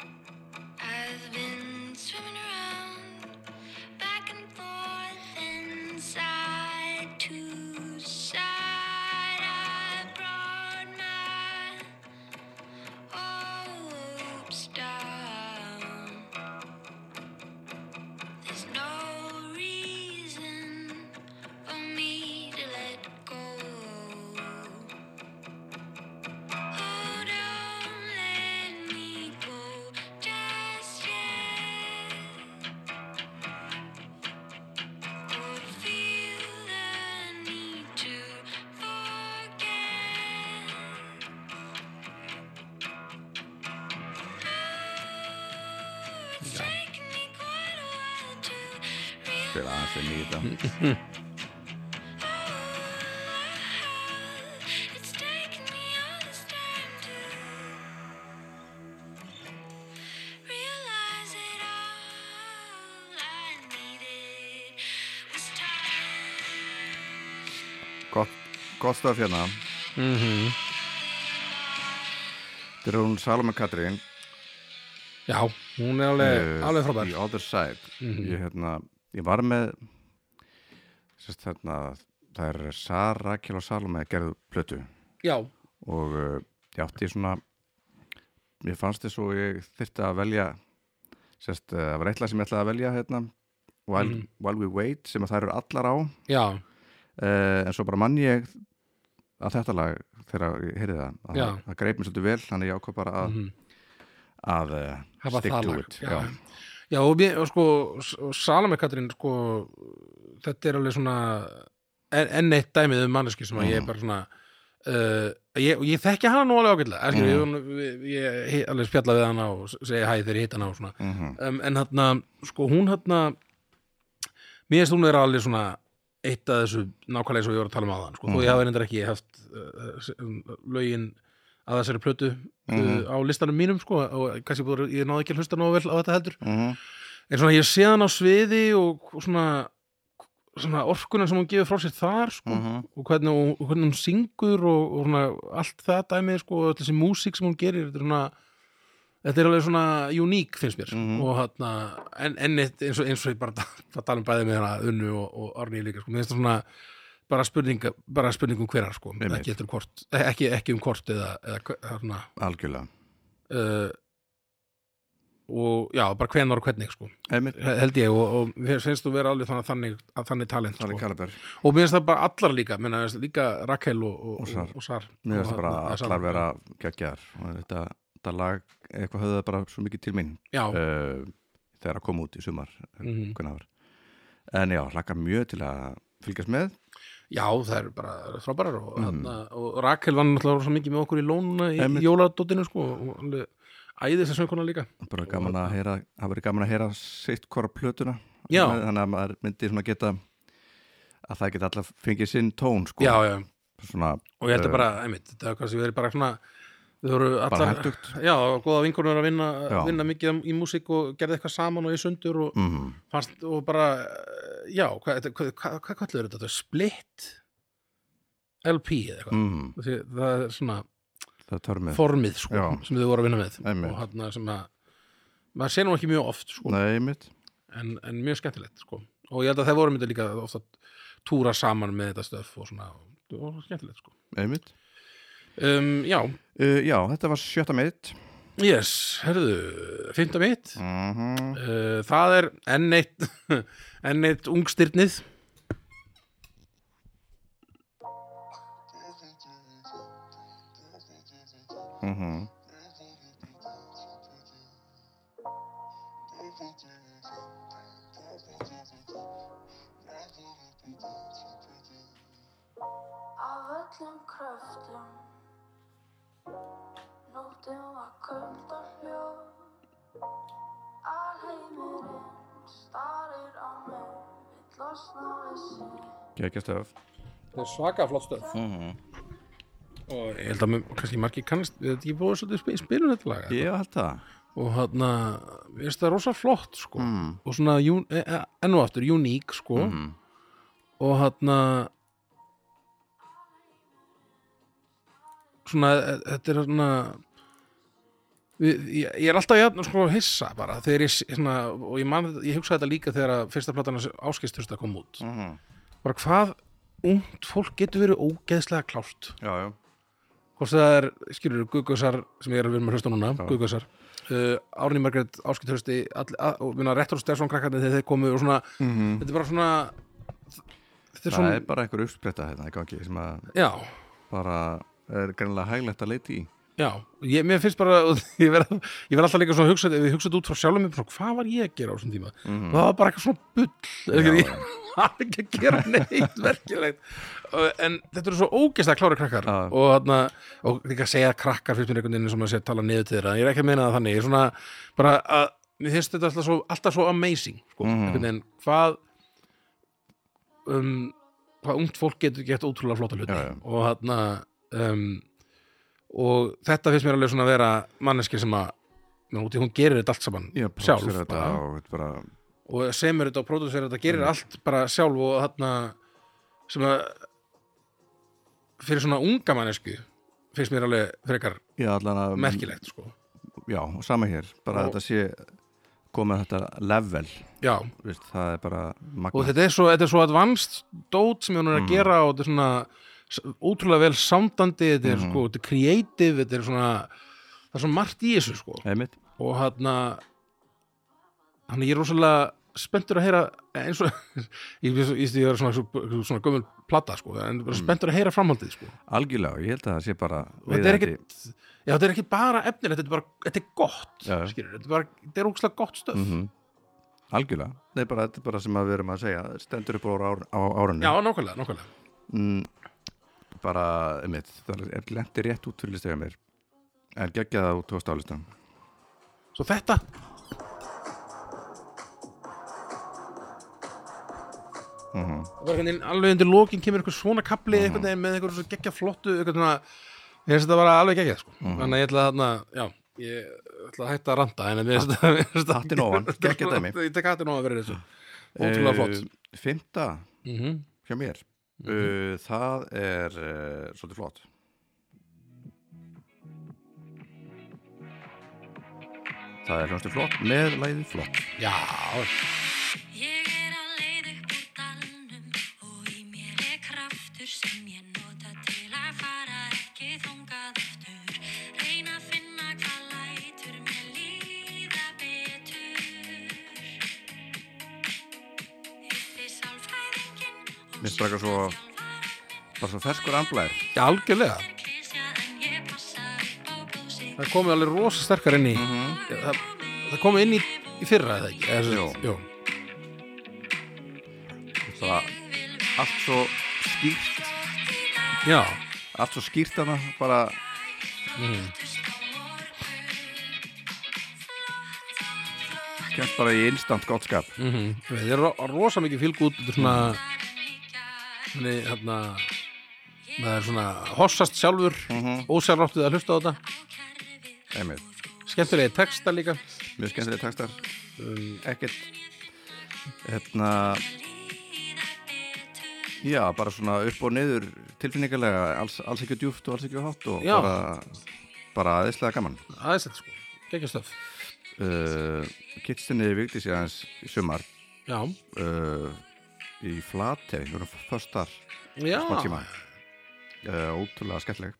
I've been swimming around back and forth and side to side. I brought my hopes down. There's no reason for me to let go. Oh, don't let me go just yet. Oh, feel the need to forget. Oh, it's taken me quite a while to
Spila aðeins inn í þetta
realize it's taken me all this time to realize it all. I needed was time.
Gott, gott stöf hérna Mhm. Þetta er hún Salome Katrín
já, hún er alveg,
eh,
alveg frábær Mhm.
The Other Side ég, hérna, ég var með sérst, hérna, það er Sara, Rakel og Salome gerðu plötu
já,
og uh, ég átti svona mér fannst þess og ég þyrfti að velja sérst, eh, það var eitthvað sem ég ætlaði að velja hérna, While,
Mhm.
While We Wait sem að það eru allar á
já,
uh, en svo bara mann ég að þetta lag þegar ég heyrði það að
Já. Mhm.
það- það greip mér svolítið vel þannig ég ákvað bara að að uh,
hafa
stick
það
to
lag
it
já. já, og mér, og sko S- Salome Katrín, sko þetta er alveg svona en- enn eitt dæmið um manneski sem að ég er bara svona uh, ég, og ég þekki hana nú alveg ágætlega mm. ég, hún- ég, ég hi- alveg spjalla við hana og s- segi hæ þegar ég hitt hana og svona
Mhm.
um, en hérna, sko hún hérna mér finnst hún vera alveg svona eitt af þessu nákvæmlega svo ég var að tala um aðan sko, þó ég hafi reyndar ekki haft uh, s- um, lögin að þessari plötu uh, á listanum mínum sko, og kannski búið, að- ég náði ekki að hlusta nógu vel á þetta heldur
Mhm.
en svona ég sé hann á sviði og svona, svona orkuna sem hún gefur frá sér þar sko, og, hvernig, hún- og hvernig hún syngur og, og svona, allt það dæmið sko, og öll þessi músík sem hún gerir þetta er, svona, þetta er alveg svona uník finnst mér og þarna, en, en eitt, eins, og, eins og ég bara að tala um bæði með hana Unnu og, og Arni líka sko, mér finnst það svona bara spurning, bara spurning um hverar sko,
Einmitt.
ekki, eftir hvort, ekki, ekki um hvort eða, eða hve- þarna,
algjörlega
uh, og já, bara hvenar og hvernig sko
Einmitt.
held ég og, og mér finnst þú vera alveg þannig, þannig, að þannig talent
Sali
sko.
Kalaber
og mér finnst það bara allar líka menna, líka Rakel og, og,
Og Sar.
og, og Sar
mér finnst
Og-
bara
og-
að
Sar.
allar vera geggjar og þetta, þetta lag eitthvað höfðu það bara svo mikið til mín
já,
uh, þegar að koma út í sumar
Mhm.
mm -hmm. en já, hlakka mjög til að fylgjast með
já, það eru bara frábærar og, mm. og Rakel vann náttúrulega svo mikið með okkur í lónuna í,
Mhm. Einmitt.
í jóladóttinu sko og alveg æði þessi sönguna líka
bara gaman að heyra, það verið gaman að heyra sitt hvora plötuna
Já.
þannig að maður myndi svona geta að það geta alltaf fengið sinn tón sko.
já, já,
svona,
og ég held
eh,
að bara, einmitt, þetta er kannski verið bara svona þau voru allar
hentugt.
já, og góða vinkonur að vinna,
Já.
vinna mikið í músík og gerði eitthvað saman og í sundur og,
mm,
fannst, og bara eh, já, hvað þetta- hvað hva, hva kallar þetta? Þetta er Split LP eða eitthvað
mm,
Því, það er svona
það törmið
formið sko,
Já.
sem þau voru að vinna með
Einmitt.
og hann sem að maður sé nú ekki mjög oft sko,
Nei, mitt
en, en mjög skemmtilegt sko. og ég held að þeir voru myndi líka ofta túra saman með þetta stöf og svona, og það var skemmtilegt sko.
Einmitt.
um, já,
Uh, já, þetta var sjötta meitt
yes, herðu fymta mitt
mm
uh, það er enn eitt enn eitt ungstyrnið
Af öllum kröftum Nóttin var köld og hljóð Alheimurinn starir á mig Vill losna við sig
Kekjastöf
það er svaka flott stöf og ég held að mér, kannski margir kannast við þetta ekki búið svolítið spi- spilum þetta lag
Ég held það
og hann ég veist það er rosa flott sko og svona jú- e- e- enn og aftur uník sko og hérna, hann svona e- e- þetta er svona við- ég ég er alltaf jafn sko hissa bara þegar ég s- svona, og ég, man, þetta- ég hugsa þetta líka þegar að fyrsta platan áskistursta kom út
Mhm.
bara hvað ungt fólk getur verið ógeðslega klárt
Já, já
hvort sem það er, skilur, Guðgössar sem ég er að vera með hlusta núna, Guðgössar uh, Árni Margrét, Áskilt Hausti og minna Rettur Stersson krakkarnir þegar þeir komu og svona, þetta er bara svona þetta er
Það
svona
er bara einhver uppspretta hérna í gangi sem að
já,
bara er greinlega hæglegt að leita í
já, ég, mér finnst bara ég verð, ég verð alltaf líka svona að hugsa ef ég hugsa þetta út frá sjálfum mér, svona, hvað var ég að gera á þessum tíma, það var bara eitthvað svona bull eða ekki, ég var ekki að gera neitt verkilegt, Uh, en þetta eru svo ógeðslega klára krakkar
Já.
og, þarna, og líka að segja krakkar fyrir einhvern veginn sem að segja tala niður til þeirra, ég er ekki að meina það þannig, ég er svona bara að, mér finnst þetta alltaf svo, alltaf svo amazing,
Mhm.
sko,
Mm.
einhvern veginn hvað um, hvað ungt fólk getur gett ótrúlega flotta hluti
Já, já.
og þarna um, og þetta finnst mér alveg svona að vera manneski sem að menn, úti, hún gerir þetta allt saman
Ég er
sjálf
prófsir þetta Mm.
bara,
og þetta bara
og semur þetta og pródusir þetta gerir allt bara sjálf og þarna sem að fyrir svona unga mannesku finnst mér alveg frekar
Já, allan að
merkilegt sko
Já, og sama hér Bara
Og-
þetta sé komið þetta level
já
veist, Það er bara
og
magna
þetta er svo, þetta er svo advanced dót sem hún
Mhm.
er að gera og þetta er svona s- ótrúlega vel samdandi þetta er
Mhm.
sko, þetta er creative þetta er svona, það er svona margt í þessu sko
Einmitt
og hann hann ég er rosalega spenntur að heyra eins og ég veist ég, ég er svona, svona, svona gömul plata sko, en
Mhm.
bara spenntur að heyra framhaldið sko.
Algjörlega, ég held að það sé bara
og þetta er
viðeigandi.
ekkit já, þetta er ekki bara efnilegt, þetta er bara þetta er gott,
Já. Mhm.
skilur, þetta er bara þetta er ógslag gott stöf
Algjörlega, Nei, bara, þetta er bara sem að við erum að segja Stendur upp á, ár, á árunni
já, nákvæmlega, nákvæmlega
bara, einmitt, það er lendi rétt út fyrir listega mér en geggja það út tóðst á listan
svo þetta, Það var
Mhm.
einhvern veginn alveg undir lokin kemur eitthvað svona kapli einhvern veginn með einhverjum svo geggja flottu eitthvað svona, ég finnst þetta bara alveg geggjað sko.
Mhm.
þannig að ég ætla að þarna, já ég ætla að hætta að ranta en mér finnst þetta- mér finnst þetta
Hattinn ofan, geggjað dæmi.
Ég tek hattinn ofan fyrir þessu Ótrúlega flott
Eh, Fimmta
Mhm.
hjá mér uh, það er uh, svolítið flott það er hljómsið flott með læðið flott
Já,
Ég er á leið upp úr dalnum og í mér er kraftur sem ég nota til að fara ekki þongað aftur. Reyna að finna hvað lætur mér líða betur. Hitti sálfræðinginn og
Mér strakar svo bara svo ferskur amblær
já algjörlega
er klísja en ég passa upp á blóðsig.
Það komið alveg rosa sterkar inn í það, það komið inn í, í fyrra eða ekki eða,
Mhm. Jú.
Jó.
það, allt svo skýrt
Já,
allt svo skýrt hana bara Mm. kemst bara í instant gottskap
það er ro- rosa mikið fylgút Þetta er svona Þannig, hérna Það er svona hossast sjálfur mm
Mhm.
-hmm. Ósjálfráttið að hlusta á þetta
einmitt,
Skemmtilegi texta líka
mjög skemmtilega textar um, ekkert hérna já, bara svona upp og niður tilfinningarlega, alls, alls ekki djúft og alls ekki hátt og
Já.
bara bara aðeinslega gaman
Aðeins þetta sko, geggjastöf
uh, kittstinni vikti sér aðeins í sumar
já,
uh, í Flatey, við vorum först þar
já,
smá tíma uh, ótrúlega skemmtileg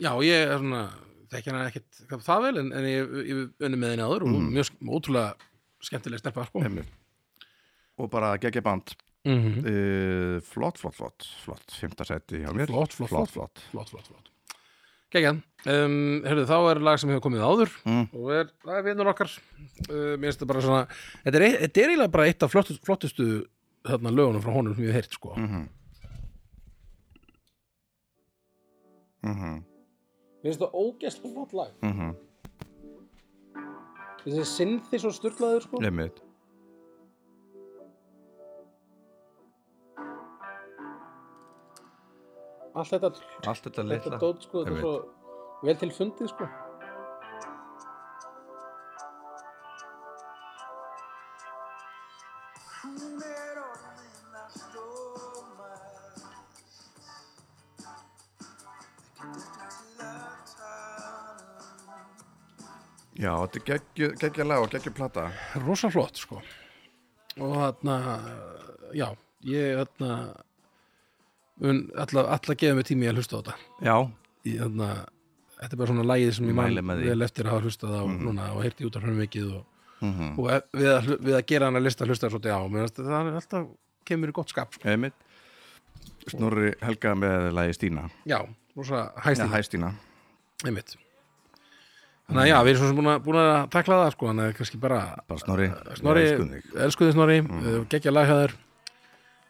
já ég er svona þekki hana ekkert hvað það vel en, en ég, ég unni með henni áður og mm. mjög sk- ótrúlega skemmtileg stelpa sko.
Mhm. Einmitt. og bara geggja band
mm
uh, flott, flott, flott flott, fymta seti hjá mér
Flott, flott,
flott,
flott, flott, flott Gekkan, um, herrðu, þá er lag sem hefur komið áður
Mm.
og er, það er vinnur okkar uh, mér finnst þetta bara svona þetta er, ei- þetta er eiginlega bara eitt af flottustu, flottustu þarna lögunum frá honum sem ég hef heyrt sko.
Mhm. Mhm,
mér finnst þetta ógeðslega flott lag
mhm.
þessi synthi svo styrlaður sko.
Einmitt.
allt þetta,
allt þetta
þetta
litla
dót sko, þetta er
Einmitt.
svo vel til fundið sko.
Hún er orðin allt of margt. Ekki þetta til að tala um.
já, þetta er geggju- geggja lag og geggja plata
rosa flott sko. og þarna já, ég þarna mun alltaf alla gefa mig tími í að hlusta á þetta
já,
í þarna þetta er bara svona lagið sem ég
Mæli
man
með því. Mhm.
vel eftir að hafa hlustað á núna og heyrti út af hann mikið og, og e- við, að, hlu- við að gera hana lista hlusta svolítið á, mér finnst að það er alltaf kemur í gott skap, sko.
einmitt Snorri Helga með lagi Stína
já, rosa hæst
Já,
í
hæ Stína
einmitt þannig að já, við erum svo sem búin að, búin að takla það sko, þannig að kannski bara
bara Uh, Snorri,
Snorri,
ég elskum þig.
elskuði Snorri mm. geggja laghæður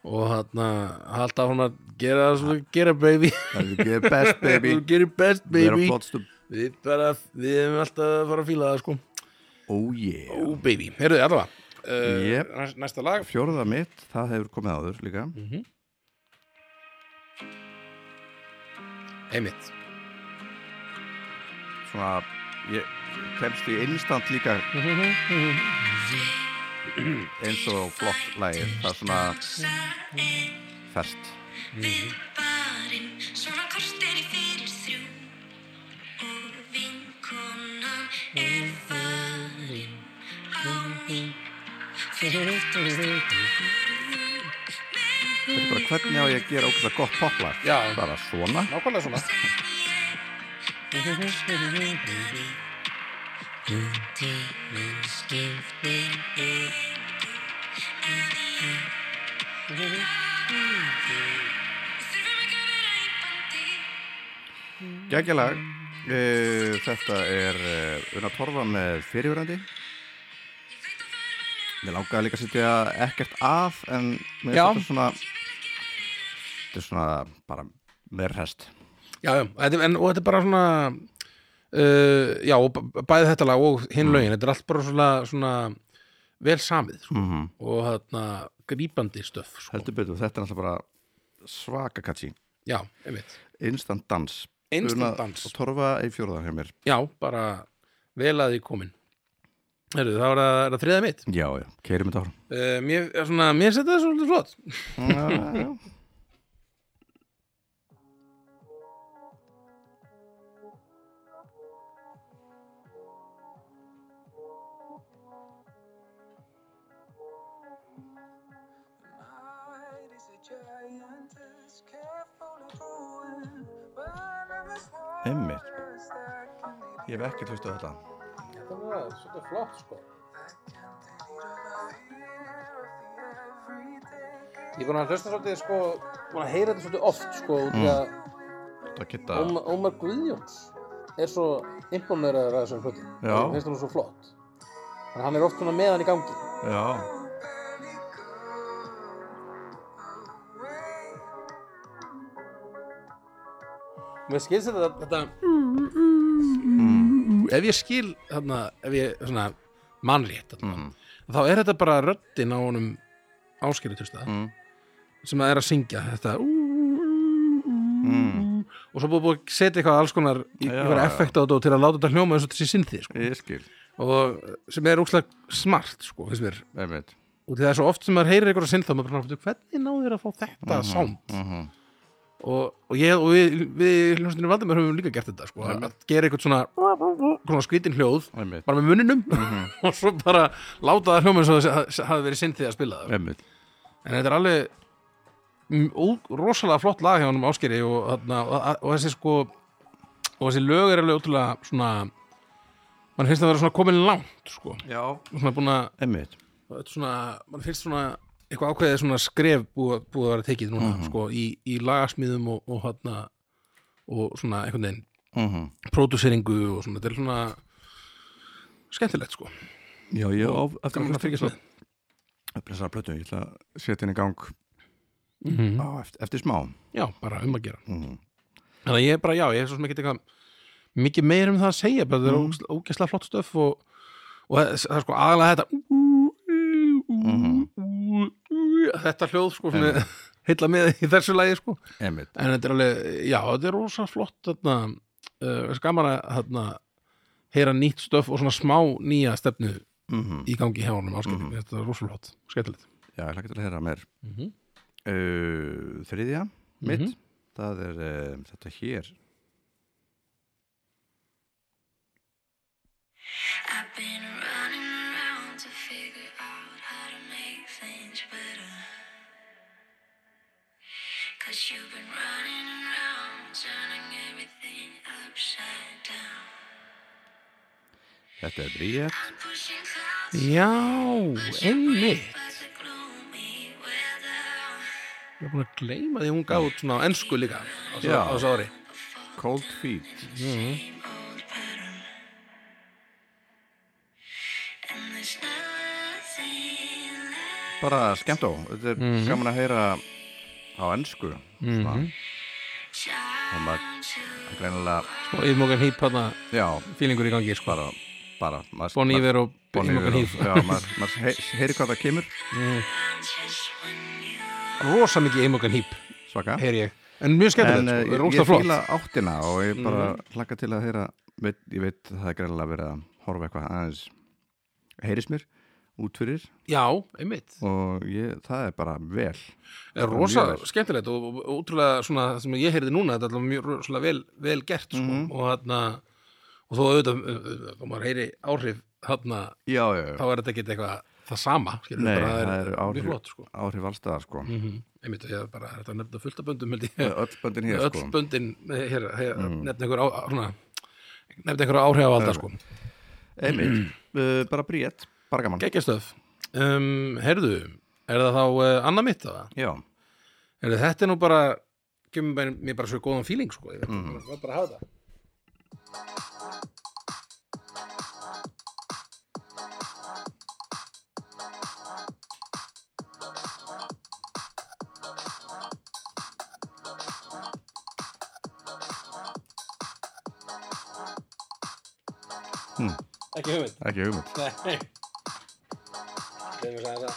og þarna, halda hún að gera það sem þú gera baby
Þú gerir best baby
þú gerir best
Þú er að
baby
flottstum
við bara, við erum alltaf að fara að fíla það sko
Oh
Ó
yeah
baby, heyrðu allavega uh,
Yep.
næst- Næsta lag
Fjórða mitt, það hefur komið áður líka
Einmitt
Svona, ég kemst í instant líka Mhm. eins og flott lagi Það er svona fest
við barinn svona korteri fyrir þrjú og vinkonan er farin á ný fyrir aftan stundum
Þetta er bara hvernig á ég að gera ókvæmlega gott poplag
Já.
Bara svona
Nákvæmlega svona
Tíminn skiptir engu en ég Þurfum ekki að vera í bandi
Gægjalag uh, Þetta er uh, Una Torfa með fyrirverandi Mér langaði líka að setja ekkert að en mér
Já.
þetta svona þetta er svona bara meir hest
já, já, þetta er- en, og þetta er bara svona uh, Já, og b- bæði þetta lag og
Mm.
hinn lögin Þetta er allt bara svona, svona vel samið sko.
-hmm.
og þarna grípandi stöf sko.
Heldur betur, þetta er alltaf bara svaka katsi
Já, einmitt
Instant dans
Instant
Una
dans.
og Torfa í fjórðan hjá mér
Já, bara vel að því komin Heyrðu, það var að, að þriða mitt
Já, já, keirum þetta ára
uh, Mér, er svona, mér setja það svolítið flott
Já, já
Night is a giantess, carefully brewing. Whenever
Einmitt.
waters that can lead
Ég hef ekki hlustað á þetta
Þetta er svolítið flott sko Ég er búin að hlusta svolítið sko, búin að heyra þetta svolítið oft sko, mm. því
Þetta geta
að Ómar, Ómar Guðjóns er svo imponeraður að þessum hlutum.
Já.
Mér finnst hún svo flott. Þannig að hann er oft svona með hann í gangi.
Já,
Mér skilst þetta, þetta... Ef ég skil, þarna, ef ég svona mannrétt, þarna,
Mm.
þá er þetta bara röddin á honum áskilutust það,
Mm.
sem að er að syngja þetta og svo búið búið að setja eitthvað alls konar í
Mm. Já,
eitthvað
já.
effekt á þetta og til að láta þetta hljóma eins og þetta sé synþið sko.
ég skil
og sem er úkslega smart sko, finnst mér
Einmitt
og því það er svo oft sem maður heyrir einhverja sinn þá maður bara, "Bíddu, hvernig náður að fá þetta sound
mm -hmm.
og, og, ég, og við, við hljómsveitinu Valdimar höfum líka gert þetta sko, að gera eitthvað svona, svona skrítin hljóð
Einmitt.
bara með munninum og svo bara láta það hljóma eins og það sé- hafi verið sinn því að spila það
Einmitt.
en þetta er alveg mm, ó, rosalega flott lag hjá hann um áskeri og, þarna, og, og þessi sko og þessi lög er alveg ótrúlega svona mann finnst það að vera svona komin langt sko.
Já
svona búin að
Einmitt.
þetta er svona, mann finnst svona eitthvað ákveðið svona skref búið, búið að vera tekið núna, sko, í, í lagasmíðum og, og hann og svona einhvern veginn
Mhm.
pródúseringu og svona, þetta er svona skemmtilegt, sko
Já, ég á eftir
gaman að fylgjast með
Þessar plötu, ég ætla að setja henni í gang
Mhm.
á, eftir, eftir smá
Já, bara um að gera
Mhm.
Þannig að ég er bara, já, ég er svo sem ekki eitthvað mikið meir um það að segja, bara þetta er mm. ógæslega flott stöf og, og það, það er sko aðalega þetta þetta hljóð, sko, sem er heilla með í þessu lagi, sko
Einmitt
en þetta er alveg, já, þetta er rosa flott þarna, uh, skaman að þarna, heyra nýtt stöf og svona smá nýja stefnu
mm
í gangi hjá honum áskiptum, mm -hmm. þetta er rosa flott skemmtilegt
Já, ég hlakka til að heyra mér
mm -hmm.
uh, Þriðja, mitt
Mhm.
Það er um, þetta hér
I've been running around to figure out how to make things better. Cause you've been running around turning everything upside down.
Þetta er Bríett
I'm pushing clouds
Já, einmitt
but the gloomy weather.
Ég er búin að gleyma því að hún gaf út svona á ensku líka á þessu-
Já.
á þessu ári
Cold Feet
same old pattern. And there's nothing left.
Bara skemmt á, þetta er
Mhm.
gaman að heyra á ennsku mm -hmm. Og maður greinilega,
og yfirmókan hýp hana
já,
fílingur í gangi sko.
bara, bara maður-
Bon
maður-
Iver og
Bon Iver
yfirmókan
og-
hýp
Já, maður maður hey- heyri hvað það kemur
Rosa mikið yfirmókan hýp,
Svaka
heyri ég En mjög
En
skemmtilegt, sko,
eh, ég,
er
ég
rosa flott Mhm.
fíla áttina og ég bara hlakka til að heyra veit, Ég veit að það er greinilega verið að horfa eitthvað aðeins Heyris mér út fyrir
Já, einmitt
og ég, það er bara vel
er
Bara
rosa
mjög vel.
skemmtilegt og, og, og útrúlega svona það sem ég heyrði núna þetta er alltaf mjög rosalega vel, vel gert sko.
Mhm.
og þarna og þó auðvitað, uh, þá maður heyri áhrif þarna,
Já, já,
þá er þetta ekki eitthvað það sama, skilur
Nei,
bara
það eru áhrif,
mjög flott sko.
áhrif allstaðar sko mm.
mm einmitt, ég er bara þetta nefnda fullt af böndum held ég
Öll böndin hér
öll
sko Mm.
böndin eh, hér, hér nefnda einhver á, á- svona, nefnda einhver áhrif á alltaf sko.
Einmitt, uh, bara bríett, bara gaman
geggjastöf um, heyrðu, er það þá uh, annað mitt það?
Já,
Heyrðu, þetta er nú bara kemur mér- mér bara svo góðan fíling sko. ég
Mhm.
mm. var bara að hafa það Ekki hugmynd
ekki hugmynd
Nei Leðum við að það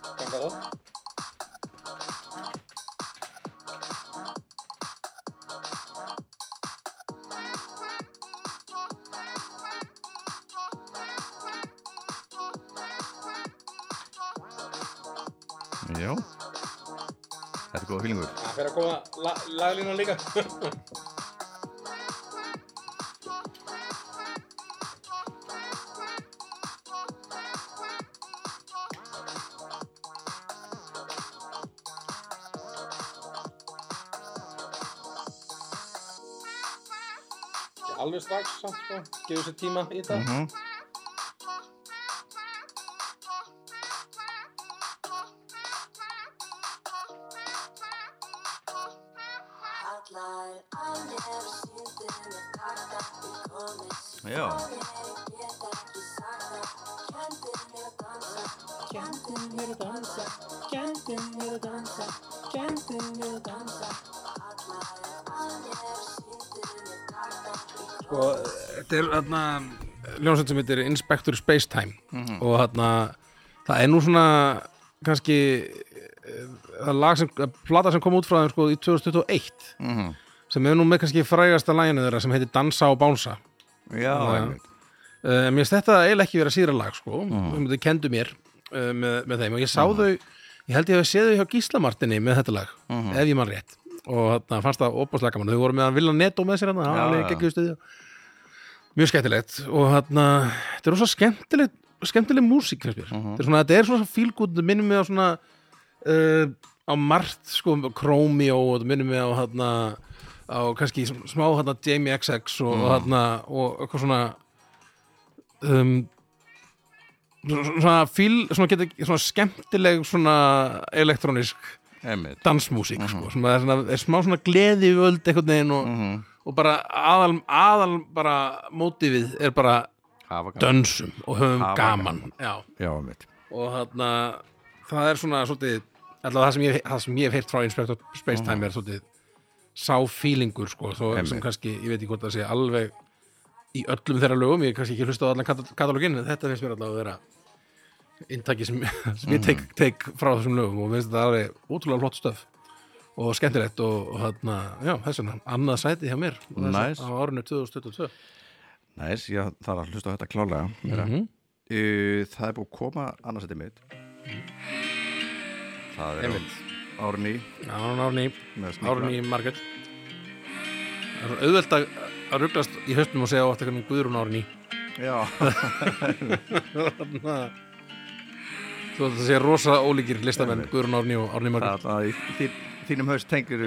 ganga þá
Já Þetta er góða fílingur
Það fer að koma la laglínu líka alveg strax samt sko, gefur sér tíma í þetta
Mhm. Já,
sko, þetta er hérna ljónsveit sem heitir Inspector Spacetime og hérna það er nú svona kannski eh, það lag sem, eh, plata sem kom út frá þeim sko í 2021
Mhm.
sem er nú með kannski frægasta læginu þeirra sem heitir Dansa og Bánsa
já,
Já.
einmitt
uh, mér finnst þetta eiginlega ekki vera síðra lag sko, sem þau kendu mér uh, með, með þeim og ég sá þau ég held ég hef séð þau hjá Gíslamartinni með þetta lag, ef ég man rétt og þarna fannst það opaslega gaman þau voru með að vilja netó með sér hann
Já,
alveg
já.
geggjuð stuði mjög skemmtilegt og þarna þetta er rosa skemmtilegt skemmtileg músík fyrir mér þetta er svona, þetta er svona feel good, þetta minnir mig á svona uh, á margt sko Chromeo og þetta minnir mig á þarna á kannski sm- smá þarna Jamie XX og, og þarna og eitthvað svona um, svona- svona fíl, svona, geta, svona skemmtileg svona elektrónisk
Einmitt.
dansmúsík sko, sem er, svona, er smá svona gleði völd einhvern veginn og, og bara aðal, aðal bara mótífið er bara
Hafa gaman.
dönsum og höfum
Hafa
gaman Já,
Já, einmitt.
og þarna það er svona svolítið alltaf það sem ég, það sem ég hef heyrt frá Inspector Space Time er svolítið sá feelingur sko, þó sem
Mhm. Einmitt.
kannski, ég veit ekki hvort það sé alveg í öllum þeirra lögum, ég hef kannski ekki hlusta á allan katal- katalóginn, en þetta finnst mér allavega að vera inntaki sem, sem ég
Mhm.
tek, tek frá þessum lögum og finnst þetta alveg ótrúlega flott stöf og skemmtilegt og, og þarna, já, þess vegna annað sæti hjá mér og þess-
Nice.
á árinu 2022
Næs, ég þarf að hlusta á þetta klálega. Mm það er búið að koma annars þetta mitt. Það er
Einmitt.
árni
Árun Árni
með snikla.
Árný Margrét Það er auðvelt að, að rugglast í höstum og segja á aftur hvernig Guðrún Árný
Já,
Þú veist að segja rosa ólíkir listamenn Guðrún Árný og Árný
það er
Margrét
alltaf í þín, þínum haust tengir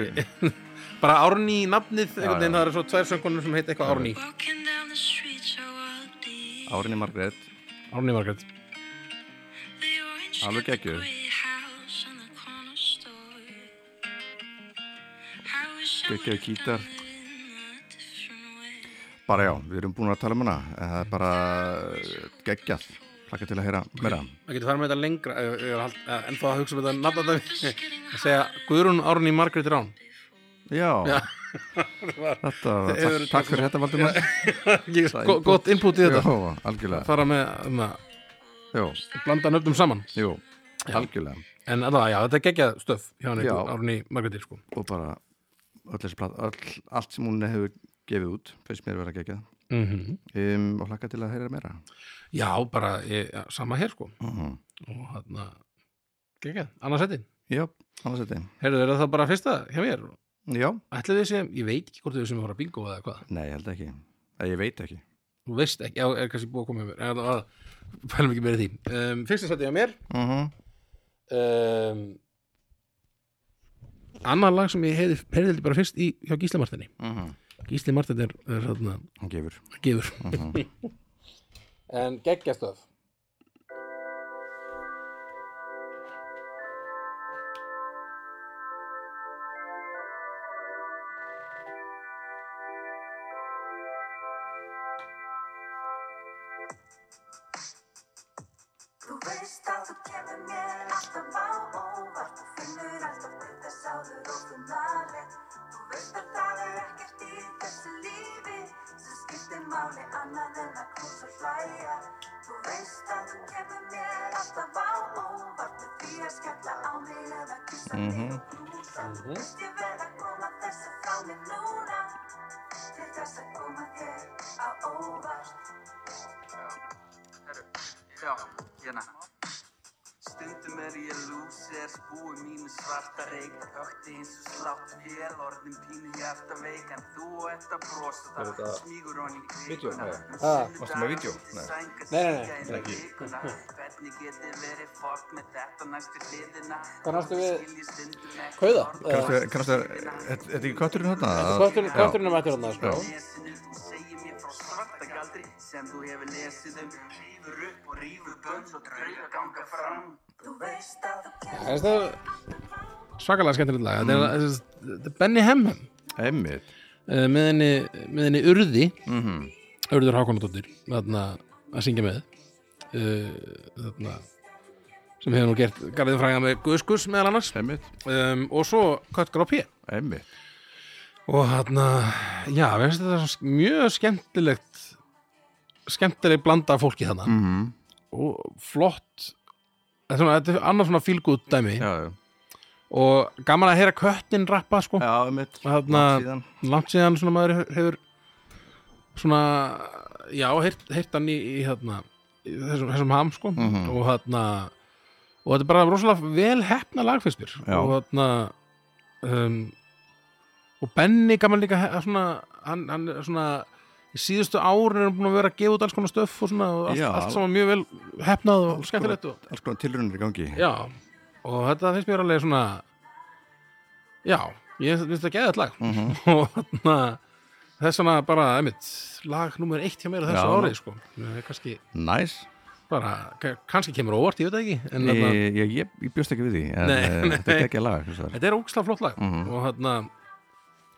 Bara Árný nafnið, einhvern veginn
já.
það eru svo tvær söngunum sem heita eitthvað Árný
Walking down the street so I'll be
árni Margrét.
Árný Margrét
the orange
Alveg
and the
geggjuð.
grey house on the corner store. I wish I
Geggjaður
would've
gítar.
done it a different way.
Bara já, við erum búin að tala um hana. en Það er bara geggjall. Plakka til að heyra meira.
Það getur farið með þetta lengra ég, ég er að hald- eh, ennþá að hugsa með þetta nafn að segja Guðrún Árný Margrét Rán
Já, þetta, var-
Þið eru-
takk, takk fyrir þetta Valdimar.
Go- Gott input í þetta
Jó, algjörlega.
fara með, um, að
Jó,
blanda nöfnum saman
jú, algjörlega.
en allavega, já, þetta er geggjað stöf hjá henni
Já.
Árný Margréti, sko
og bara öll þessi plat, öll, allt sem hún hefur gefið út finnst mér að vera geggjað
mm
um, og hlakka til að heyra meira
Já, bara ég, ja, sama hér sko
Mhm.
og hérna geggjað, annars þetta
já, annars þetta
Heyrðu, er það bara fyrsta hjá mér?
já,
Ætli við sem, ég veit ekki hvort við sem að fara að bingo eða hvað,
nei, ég held ekki, að ég veit ekki
þú veist ekki já, er kannski búið að koma hjá mér, en það var pælum ekki meira í því. Um, fyrsta sætti hjá mér
uh -huh.
um, Annað lag sem ég heyrði heyrði bara fyrst í, hjá Gísli Martinni
mhm.
Gísli Martin er, er hérna,
hún gefur
gefur En geggjastöð
Þú veist að þú kemur mér alltaf á óvart Þú finnur alltaf til þess áður og þú nærið Þú veist að það er ekkert í þessu lífi sem skiptir máli annað en að knúsa og hlæja Þú veist að þú kemur mér alltaf á óvart með því að skella á mig eða kyssa mig og knúsa Þú veist ég verð að koma þessu frá mér núna til þess að koma þér á óvart
Já, hérna Stundum er ég lúser, spúi mínu svarta reik Högti eins og slátt vél, orðin pínu hjarta veik En þú ert að brosa það, þetta... smígur honni í kvikuna
Ha,
varstu með vídeó? Nei.
Ah, Nei, nei, nei,
nei Hvernig geti verið fólk með þetta næstu hliðina
Hvað nástu við- Kauða? eh,
Kauða?
kannast þér, kannast þér, þetta er ekki kötturinn hérna?
Kötturinn kötturinn er mættur þarna, sko
Já.
Lesinu, þú segir mér frá svarta galdri sem þú hefur lesið um Rífur upp og rífur bönns og drauga ganga fram
Þú veist að þú kemur
Það er svakalega skemmtilegt lag Þetta er- þetta er Benny Hemhem
einmitt,
Mm. eh, með henni, með henni Urði Mhm. Urður Hákonadóttir þarna að syngja með eh, þarna sem hefur nú gert garðið fræga með Guðskus meðal annars
einmitt,
um, og svo Kött Grópi
einmitt
og þarna, já, við finnst þetta svo mjög skemmtilegt skemmtileg blanda af fólki þarna -hmm. og flott þetta er svona- þetta er annars svona fílgúð dæmi
já, já,
og gaman að heyra köttin rappa sko
já, einmitt
Þarna-
Langt síðan.
langt síðan svona maður hefur svona já, heyrt, heyrt hann í, í, þarna, í þessum, þessum ham sko og þarna og þetta er bara rosalega vel hefna lagfiskur
Já.
og þarna um, og Benny gaman líka he- svona, hann, hann er svona í síðustu árin er hann búin að vera að gefa út alls konar stöf og svona og allt,
Já.
allt saman mjög vel hefnað og skemmtilegt og,
alls konar tilrunir í gangi
já, og þetta finnst mér alveg svona já, ég finnst þetta geðið lag og þarna þess vegna bara, einmitt, lag nummer eitt hjá mér á þessu
Já.
ári, sko Ég er kannski,
næs
bara, ka- kannski kemur á óvart, ég veit það ekki en þarna,
ég, ég, ég, ég bjóst ekki við því en,
Nei,
eh,
nei.
þetta er ekki að laga þessar.
þetta er ógislega flott lag og þarna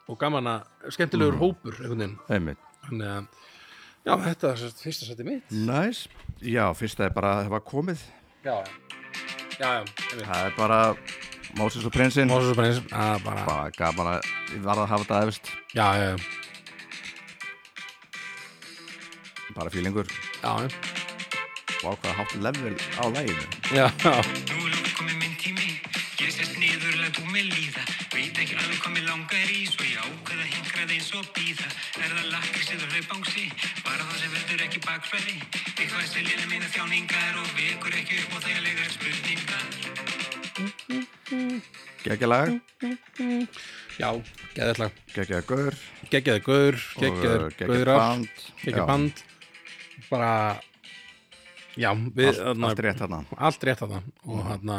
og gaman að skemmtilegur hópur einhvern veginn
einmitt
Þannig að Já, þetta er sérst fyrsta seti mitt
Næs, já, fyrsta er bara að hafa komið
Já, já, já
Það er bara Moses og prinsinn
Moses og Prince, að bara
Bara gaman að, ég var að hafa þetta efist
Já, já, já,
Bara fílingur,
já,
og ákvaða hátt level á læginu
já, já.
Nú er lók komið minn tími Ég sest niður, læt úr mig líða Veit ekki alveg hvað mér langar í Svo ég ákveð að hingra þeins og býða Er það lakkis eða hlaupangsi Bara það sem verður ekki bakflæði Eitthvað sem lina mína þjáningar Og vekur ekki upp og þægilegar spurningar
Gekkja lag,
Já, geðið lag
gekkja gaur
Geggjaði gaur,
og,
geggjaði
eh, geggjað
gaurar
band. Já,
Geggjaði band Bara Já, við
allt, allt rétt Mm. þarna
allt rétt þarna og þarna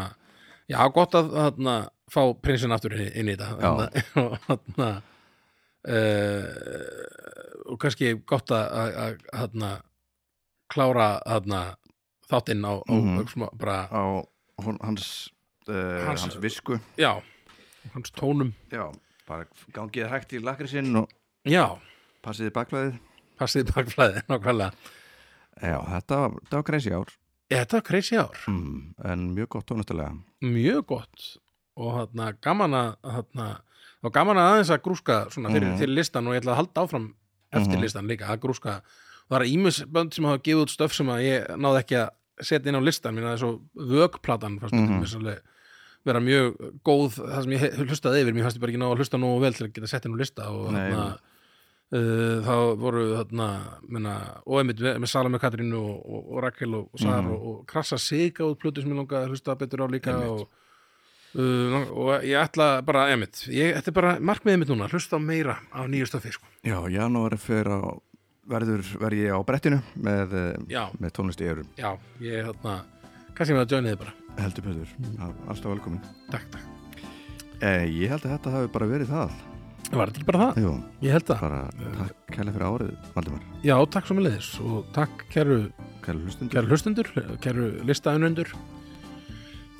Já, gott að þarna fá prinsinn aftur inn, inn í þetta
Já.
Þarna- og þarna uh, og kannski gott að- að að, þarna klára þarna þáttinn á, á
Mhm.
smá, bara,
á hún, hans, uh,
Hans-
hans visku
já hans tónum,
Já, bara gangið hægt í lakrisinn og
já
passiði baklæðið
passið bakflæði, nákvæmlega
Já, þetta var, þetta var crazy ár
Ég, Þetta var crazy ár,
mm, en mjög gott tónustilega
mjög gott og þarna gaman að þarna, og gaman að aðeins að grúska svona fyrir,
Mhm.
fyrir listan og ég ætla að halda áfram eftir
Mhm.
listan líka að grúska það er ímisbönd sem hafa gefið út stöf sem að ég náði ekki að setja inn á listan mín að þessu vögplatan fannst mm
Mhm.
-hmm. vera mjög góð það sem ég he- hlustaði yfir, mér fannst ég bara ekki ná að hlusta nógu vel til að geta sett inn á lista og
Nei,
þarna, uh, þá voru þarna, menna, og einmitt með, með Salome Katrínu og, og, og Rakel og, og Sar
Mhm.
og, og Krassa Siga út plötu sem ég langaði að hlusta betur á líka
Einmitt.
og Uh, og ég ætla bara, einmitt, ég, þetta er bara markmiðið mitt núna, hlusta á meira á nýju stöfi sko.
Já, janúar fyrir á verður verð ég á brettinu með, eh,
Já.
með tónlist í eurum
Já, ég er þarna kannski með að joina þið bara
heldur Pöður,
Mm.
alltaf velkomin
Takk, takk
eh, Ég held að þetta hafi bara verið það
Var þetta ekki bara það?
Jú,
Ég held það
bara takk kælega fyrir árið Valdimar,
Já, takk svo með leiðis og takk kæru,
kælega hlustundur
kæru hlustundur kæru listaðunundur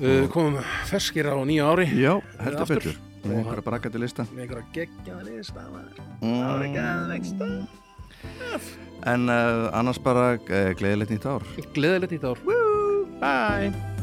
uh, komum ferskir á nýja ári
Já, heldur
Aftur.
Pöður, með einhverja brakandi lista
með einhverja geggjaða listaðar
En Mm. eh, annars bara eh, gleðilegt nýtt ár
Gleðilegt í þetta ár Woo! Bye